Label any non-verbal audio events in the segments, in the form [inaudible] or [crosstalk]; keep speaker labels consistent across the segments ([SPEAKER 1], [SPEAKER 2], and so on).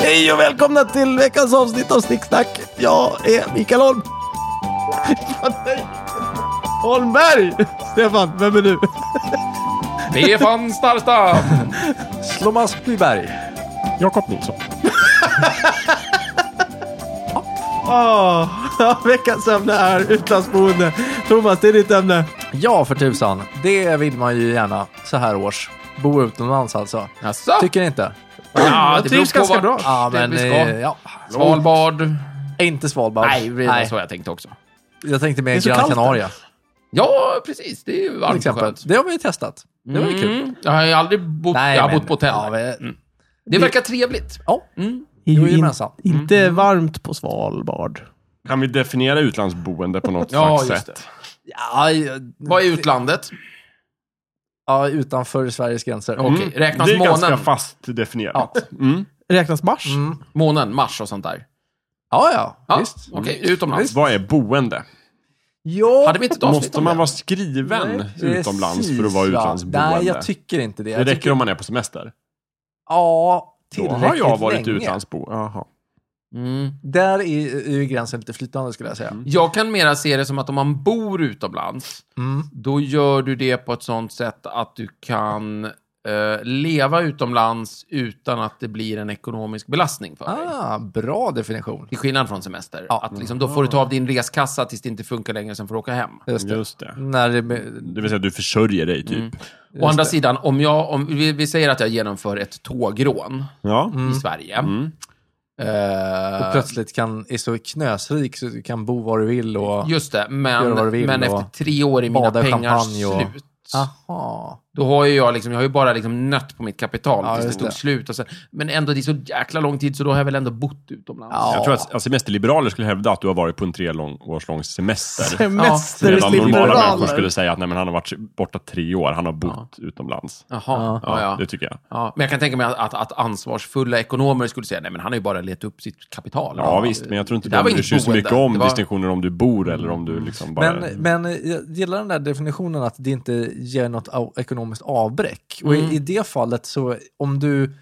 [SPEAKER 1] Hej och välkomna till veckans avsnitt av Snicksnack. Jag är Mikael Holm. Holmberg! Stefan, vem är du?
[SPEAKER 2] Stefan Starstam!
[SPEAKER 3] Slomas Plyberg.
[SPEAKER 4] Jakob Nilsson.
[SPEAKER 1] [laughs] Åh, [laughs] veckans ämne är utlandsboende. Thomas, det är ditt ämne.
[SPEAKER 3] Ja, för tusan. Det vill man ju gärna så här års. Bo utomlands alltså.
[SPEAKER 2] Jaså?
[SPEAKER 3] Tycker ni inte?
[SPEAKER 2] Ja,
[SPEAKER 4] jag trivs ganska bra.
[SPEAKER 3] Ja, men...
[SPEAKER 2] vi ska.
[SPEAKER 3] eh, Ja.
[SPEAKER 2] Svalbard.
[SPEAKER 3] Inte Svalbard.
[SPEAKER 2] Nej, det var
[SPEAKER 3] Nej.
[SPEAKER 2] så jag tänkte också.
[SPEAKER 3] Jag tänkte
[SPEAKER 1] Det är
[SPEAKER 3] mer
[SPEAKER 1] så
[SPEAKER 3] Gran
[SPEAKER 1] kallt där.
[SPEAKER 3] Canaria.
[SPEAKER 2] Ja, precis. Det är ju
[SPEAKER 3] Till
[SPEAKER 2] varmt och
[SPEAKER 3] exempel.
[SPEAKER 2] skönt.
[SPEAKER 3] Det har vi ju testat. Det var ju kul.
[SPEAKER 2] Mm. Jag har ju aldrig bott, jag har bott på hotell.
[SPEAKER 3] Ja, men,
[SPEAKER 1] Mm.
[SPEAKER 2] det verkar trevligt.
[SPEAKER 3] ja.
[SPEAKER 1] Det är ju in,
[SPEAKER 3] Jajamensan.
[SPEAKER 1] inte varmt på Svalbard.
[SPEAKER 4] Kan vi definiera utlandsboende
[SPEAKER 3] [laughs]
[SPEAKER 4] på något
[SPEAKER 2] Ja,
[SPEAKER 4] slags
[SPEAKER 2] just
[SPEAKER 4] sätt?
[SPEAKER 3] Ja, ju-
[SPEAKER 2] Vad är utlandet?
[SPEAKER 3] ja, utanför Sveriges gränser.
[SPEAKER 2] Okej, räknas
[SPEAKER 4] Mm. Det är ganska
[SPEAKER 2] månen?
[SPEAKER 4] fast definierat.
[SPEAKER 2] Ja.
[SPEAKER 4] Mm.
[SPEAKER 1] Räknas mars?
[SPEAKER 2] Månen, Mars och sånt där?
[SPEAKER 3] Mm. Ja, ja.
[SPEAKER 2] Ja,
[SPEAKER 3] Visst.
[SPEAKER 2] Okej, utomlands.
[SPEAKER 4] Vad är boende?
[SPEAKER 3] Ja,
[SPEAKER 2] Hade vi inte ett avsnitt
[SPEAKER 4] Måste
[SPEAKER 2] om
[SPEAKER 4] man
[SPEAKER 2] det?
[SPEAKER 4] vara skriven utomlands för att vara utlandsboende?
[SPEAKER 3] Nej, jag tycker inte det.
[SPEAKER 4] det
[SPEAKER 3] Jag
[SPEAKER 4] räcker
[SPEAKER 3] tycker,
[SPEAKER 4] om man är på semester.
[SPEAKER 3] ja,
[SPEAKER 4] Då
[SPEAKER 3] tillräckligt
[SPEAKER 4] har jag varit
[SPEAKER 3] länge.
[SPEAKER 4] utlandsboende. Jaha.
[SPEAKER 2] Mm.
[SPEAKER 3] Där är, är ju gränsen lite flytande skulle jag säga.
[SPEAKER 2] Jag kan mera se det som att om man bor utomlands,
[SPEAKER 3] Mm.
[SPEAKER 2] då gör du det på ett sånt sätt att du kan eh, leva utomlands utan att det blir en ekonomisk belastning för dig.
[SPEAKER 3] Ah, bra definition.
[SPEAKER 2] Till skillnad från semester.
[SPEAKER 3] Ja.
[SPEAKER 2] Att liksom, då får du ta av din reskassa tills det inte funkar längre, sen får du åka hem.
[SPEAKER 3] Just det. Mm.
[SPEAKER 4] Just det.
[SPEAKER 3] När det,
[SPEAKER 4] Det vill säga att du försörjer dig, typ.
[SPEAKER 2] Å andra sidan, om jag, om, vi, vi säger att jag genomför ett tågrån
[SPEAKER 4] Ja.
[SPEAKER 3] Mm.
[SPEAKER 2] i Sverige.
[SPEAKER 3] och
[SPEAKER 2] Eh,
[SPEAKER 3] plötsligt kan, är så knösrik så du kan bo var du vill och...
[SPEAKER 2] just det,
[SPEAKER 3] Gör
[SPEAKER 2] men,
[SPEAKER 3] vad du vill
[SPEAKER 2] men
[SPEAKER 3] och
[SPEAKER 2] efter tre år är mina
[SPEAKER 3] bada i
[SPEAKER 2] pengar
[SPEAKER 3] champagne och- Ah.
[SPEAKER 2] slut.
[SPEAKER 3] Aha.
[SPEAKER 2] Då har ju jag, liksom, jag har ju bara liksom nött på mitt kapital
[SPEAKER 3] Ja,
[SPEAKER 2] tills det
[SPEAKER 3] just
[SPEAKER 2] tog
[SPEAKER 3] det.
[SPEAKER 2] slut. Och sen, men ändå, det är så jäkla lång tid, så då har jag väl ändå bott utomlands.
[SPEAKER 3] Ja.
[SPEAKER 4] Jag tror att alltså, semesterliberaler skulle hävda att du har varit på en tre lång, års lång semester. Medan normala människor
[SPEAKER 1] Semesterliberaler.
[SPEAKER 4] skulle säga att nej, men han har varit borta tre år, han har bott utomlands.
[SPEAKER 2] Jaha,
[SPEAKER 3] Ja.
[SPEAKER 2] ja.
[SPEAKER 4] Ja,
[SPEAKER 2] Ja,
[SPEAKER 4] Det tycker jag.
[SPEAKER 2] Ja, Men jag kan tänka mig att, att, att ansvarsfulla ekonomer skulle säga, nej men han har ju bara letat upp sitt kapital.
[SPEAKER 4] Ja, visst, men jag tror inte
[SPEAKER 2] det där
[SPEAKER 4] de
[SPEAKER 2] var
[SPEAKER 4] bryr
[SPEAKER 2] inget
[SPEAKER 4] sig så
[SPEAKER 2] boende.
[SPEAKER 4] mycket om
[SPEAKER 2] Det var-
[SPEAKER 4] distinktionen om du bor eller om du liksom bara...
[SPEAKER 3] Men, men jag gillar den där definitionen att det inte ger något au- ekonomiskt avbräck. Och
[SPEAKER 2] Mm.
[SPEAKER 3] i, i det fallet så, om du...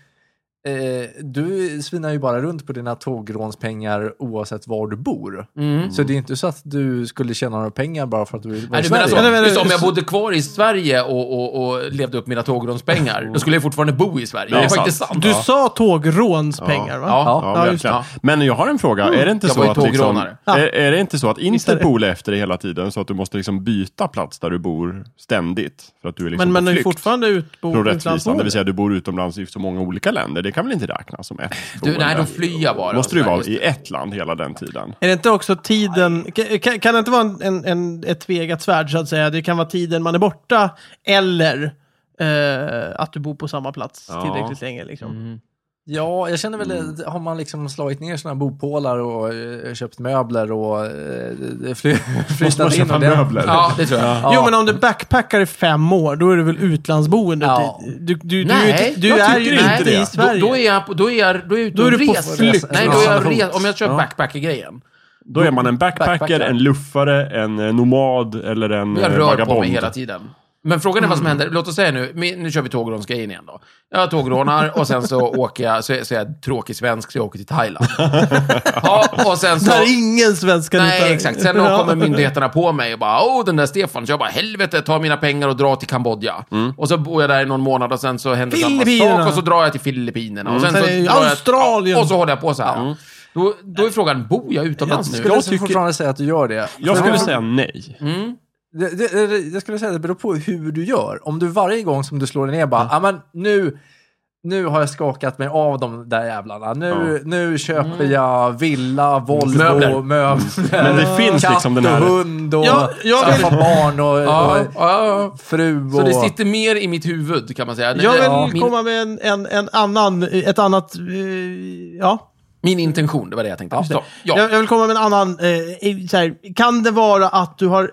[SPEAKER 3] Eh, du svinar ju bara runt på dina tågrånspengar oavsett var du bor. Så det är inte så att du skulle tjäna några pengar bara för att du var
[SPEAKER 2] Mm. Nej,
[SPEAKER 3] i
[SPEAKER 2] du menar
[SPEAKER 3] Sverige.
[SPEAKER 2] så,
[SPEAKER 1] Eller, eller,
[SPEAKER 2] just om jag
[SPEAKER 1] så-
[SPEAKER 2] bodde kvar i Sverige och, och, och levde upp mina tågrumspengar, då skulle jag fortfarande bo i Sverige. Det är
[SPEAKER 4] är
[SPEAKER 2] faktiskt
[SPEAKER 4] sant.
[SPEAKER 2] sant.
[SPEAKER 1] Du sa tågrånspengar, va?
[SPEAKER 2] Ja.
[SPEAKER 4] Ja,
[SPEAKER 1] Ja, just
[SPEAKER 4] verkligen. Men jag har en fråga. Är det inte
[SPEAKER 2] Jag
[SPEAKER 4] så
[SPEAKER 2] var ju
[SPEAKER 4] att, liksom,
[SPEAKER 2] tågrånare.
[SPEAKER 4] är, är det inte så att Interpol är efter dig hela tiden så att du måste liksom byta plats där du bor ständigt? För att du är liksom
[SPEAKER 1] Men man
[SPEAKER 4] på
[SPEAKER 1] är ju
[SPEAKER 4] flykt
[SPEAKER 1] fortfarande
[SPEAKER 4] från rättvisan,
[SPEAKER 1] utbo-
[SPEAKER 4] det vill
[SPEAKER 1] utlandsboende.
[SPEAKER 4] säga du bor utomlands i så många olika länder. Det kan väl inte räknas som ett
[SPEAKER 2] Du, nej, då
[SPEAKER 4] boende?
[SPEAKER 2] flyr jag bara.
[SPEAKER 4] Måste du
[SPEAKER 2] Sådär,
[SPEAKER 4] vara
[SPEAKER 2] just
[SPEAKER 4] i ett land hela den tiden?
[SPEAKER 1] Är det inte också tiden, ka- kan, kan det inte vara en, en, en, ett tvegat svärd så att säga? Det kan vara tiden man är borta eller eh, att du bor på samma plats
[SPEAKER 4] Ja.
[SPEAKER 1] tillräckligt länge. Liksom.
[SPEAKER 2] Mm.
[SPEAKER 3] Ja, jag känner väl,
[SPEAKER 4] Mm.
[SPEAKER 3] att har man liksom slagit ner sina bopålar och eh, köpt möbler och eh, fly,
[SPEAKER 4] Måste man
[SPEAKER 3] flyttat in
[SPEAKER 4] köpa
[SPEAKER 3] ordentligt.
[SPEAKER 4] möbler?
[SPEAKER 2] Ja, det tror jag.
[SPEAKER 1] Jo, men om du backpackar i fem år, då är du väl utlandsboende?
[SPEAKER 3] Ja.
[SPEAKER 1] Du, du, du, du, är ju
[SPEAKER 2] Nej,
[SPEAKER 1] inte- du
[SPEAKER 2] jag
[SPEAKER 1] är
[SPEAKER 2] tycker
[SPEAKER 1] ju
[SPEAKER 2] inte
[SPEAKER 1] inte
[SPEAKER 4] det.
[SPEAKER 1] i Sverige.
[SPEAKER 2] Då, då är jag, på- då är jag, då är jag ute
[SPEAKER 1] Då är
[SPEAKER 2] och
[SPEAKER 1] du på
[SPEAKER 2] reser.
[SPEAKER 1] flykt.
[SPEAKER 2] Nej, då är jag
[SPEAKER 1] Ja.
[SPEAKER 2] res, om jag kör backpacker-grejen.
[SPEAKER 4] Då är man en backpacker,
[SPEAKER 3] Backpacker.
[SPEAKER 4] en luffare, en eh, nomad eller en
[SPEAKER 2] Jag
[SPEAKER 4] eh,
[SPEAKER 2] rör på
[SPEAKER 4] vagabond.
[SPEAKER 2] mig hela tiden. Men frågan är vad som
[SPEAKER 1] Mm.
[SPEAKER 2] händer. Låt oss säga nu, men nu kör vi tågrånsgrejen igen då. Jag tågrånar och sen så [laughs] åker jag, så, är- så är jag tråkig svensk, så jag åker till
[SPEAKER 1] [laughs]
[SPEAKER 2] Thailand. Ja, och sen så...
[SPEAKER 1] Där ingen svensk kan
[SPEAKER 2] Nej,
[SPEAKER 1] uttala-
[SPEAKER 2] exakt. Sen då
[SPEAKER 1] Ja.
[SPEAKER 2] kommer myndigheterna på mig och bara, åh, den där Stefan. Så jag bara, helvete, ta mina pengar och dra till Kambodja.
[SPEAKER 4] Mm.
[SPEAKER 2] Och så bor jag där i någon månad och sen så händer samma
[SPEAKER 1] Filippinerna. Mm.
[SPEAKER 2] sak och så drar jag till Filippinerna. Och sen
[SPEAKER 1] Sen
[SPEAKER 2] så
[SPEAKER 1] är det
[SPEAKER 2] drar jag-
[SPEAKER 1] Australien.
[SPEAKER 2] Och så håller jag på så här.
[SPEAKER 4] Mm.
[SPEAKER 2] Då, då är frågan, bor jag utomlands nu?
[SPEAKER 3] Skulle jag
[SPEAKER 4] tycker-
[SPEAKER 3] fortfarande säga att du gör det.
[SPEAKER 4] Jag skulle säga nej.
[SPEAKER 2] Mm.
[SPEAKER 3] Det, det, det, jag skulle säga att det beror på hur du gör. Om du varje gång som du slår dig ner bara, ja men nu, nu har jag skakat mig av de där jävlarna. Nu, nu köper jag villa, Volvo, [laughs]
[SPEAKER 2] Möbler.
[SPEAKER 3] möbler,
[SPEAKER 4] Men det finns
[SPEAKER 3] katt
[SPEAKER 4] liksom den här-
[SPEAKER 3] och hund och
[SPEAKER 1] Ja, jag vill-
[SPEAKER 3] skaffa barn och,
[SPEAKER 2] Ja,
[SPEAKER 3] och
[SPEAKER 2] ja.
[SPEAKER 3] fru och...
[SPEAKER 2] Så det sitter mer i mitt huvud, kan man säga. Det-
[SPEAKER 1] Jag vill
[SPEAKER 2] det- min,
[SPEAKER 1] komma med en, en, en annan, ett annat, eh, ja.
[SPEAKER 2] min intention, det var det jag tänkte. Så, ja.
[SPEAKER 1] Jag, jag vill komma med en annan. Eh, så här, kan det vara att du har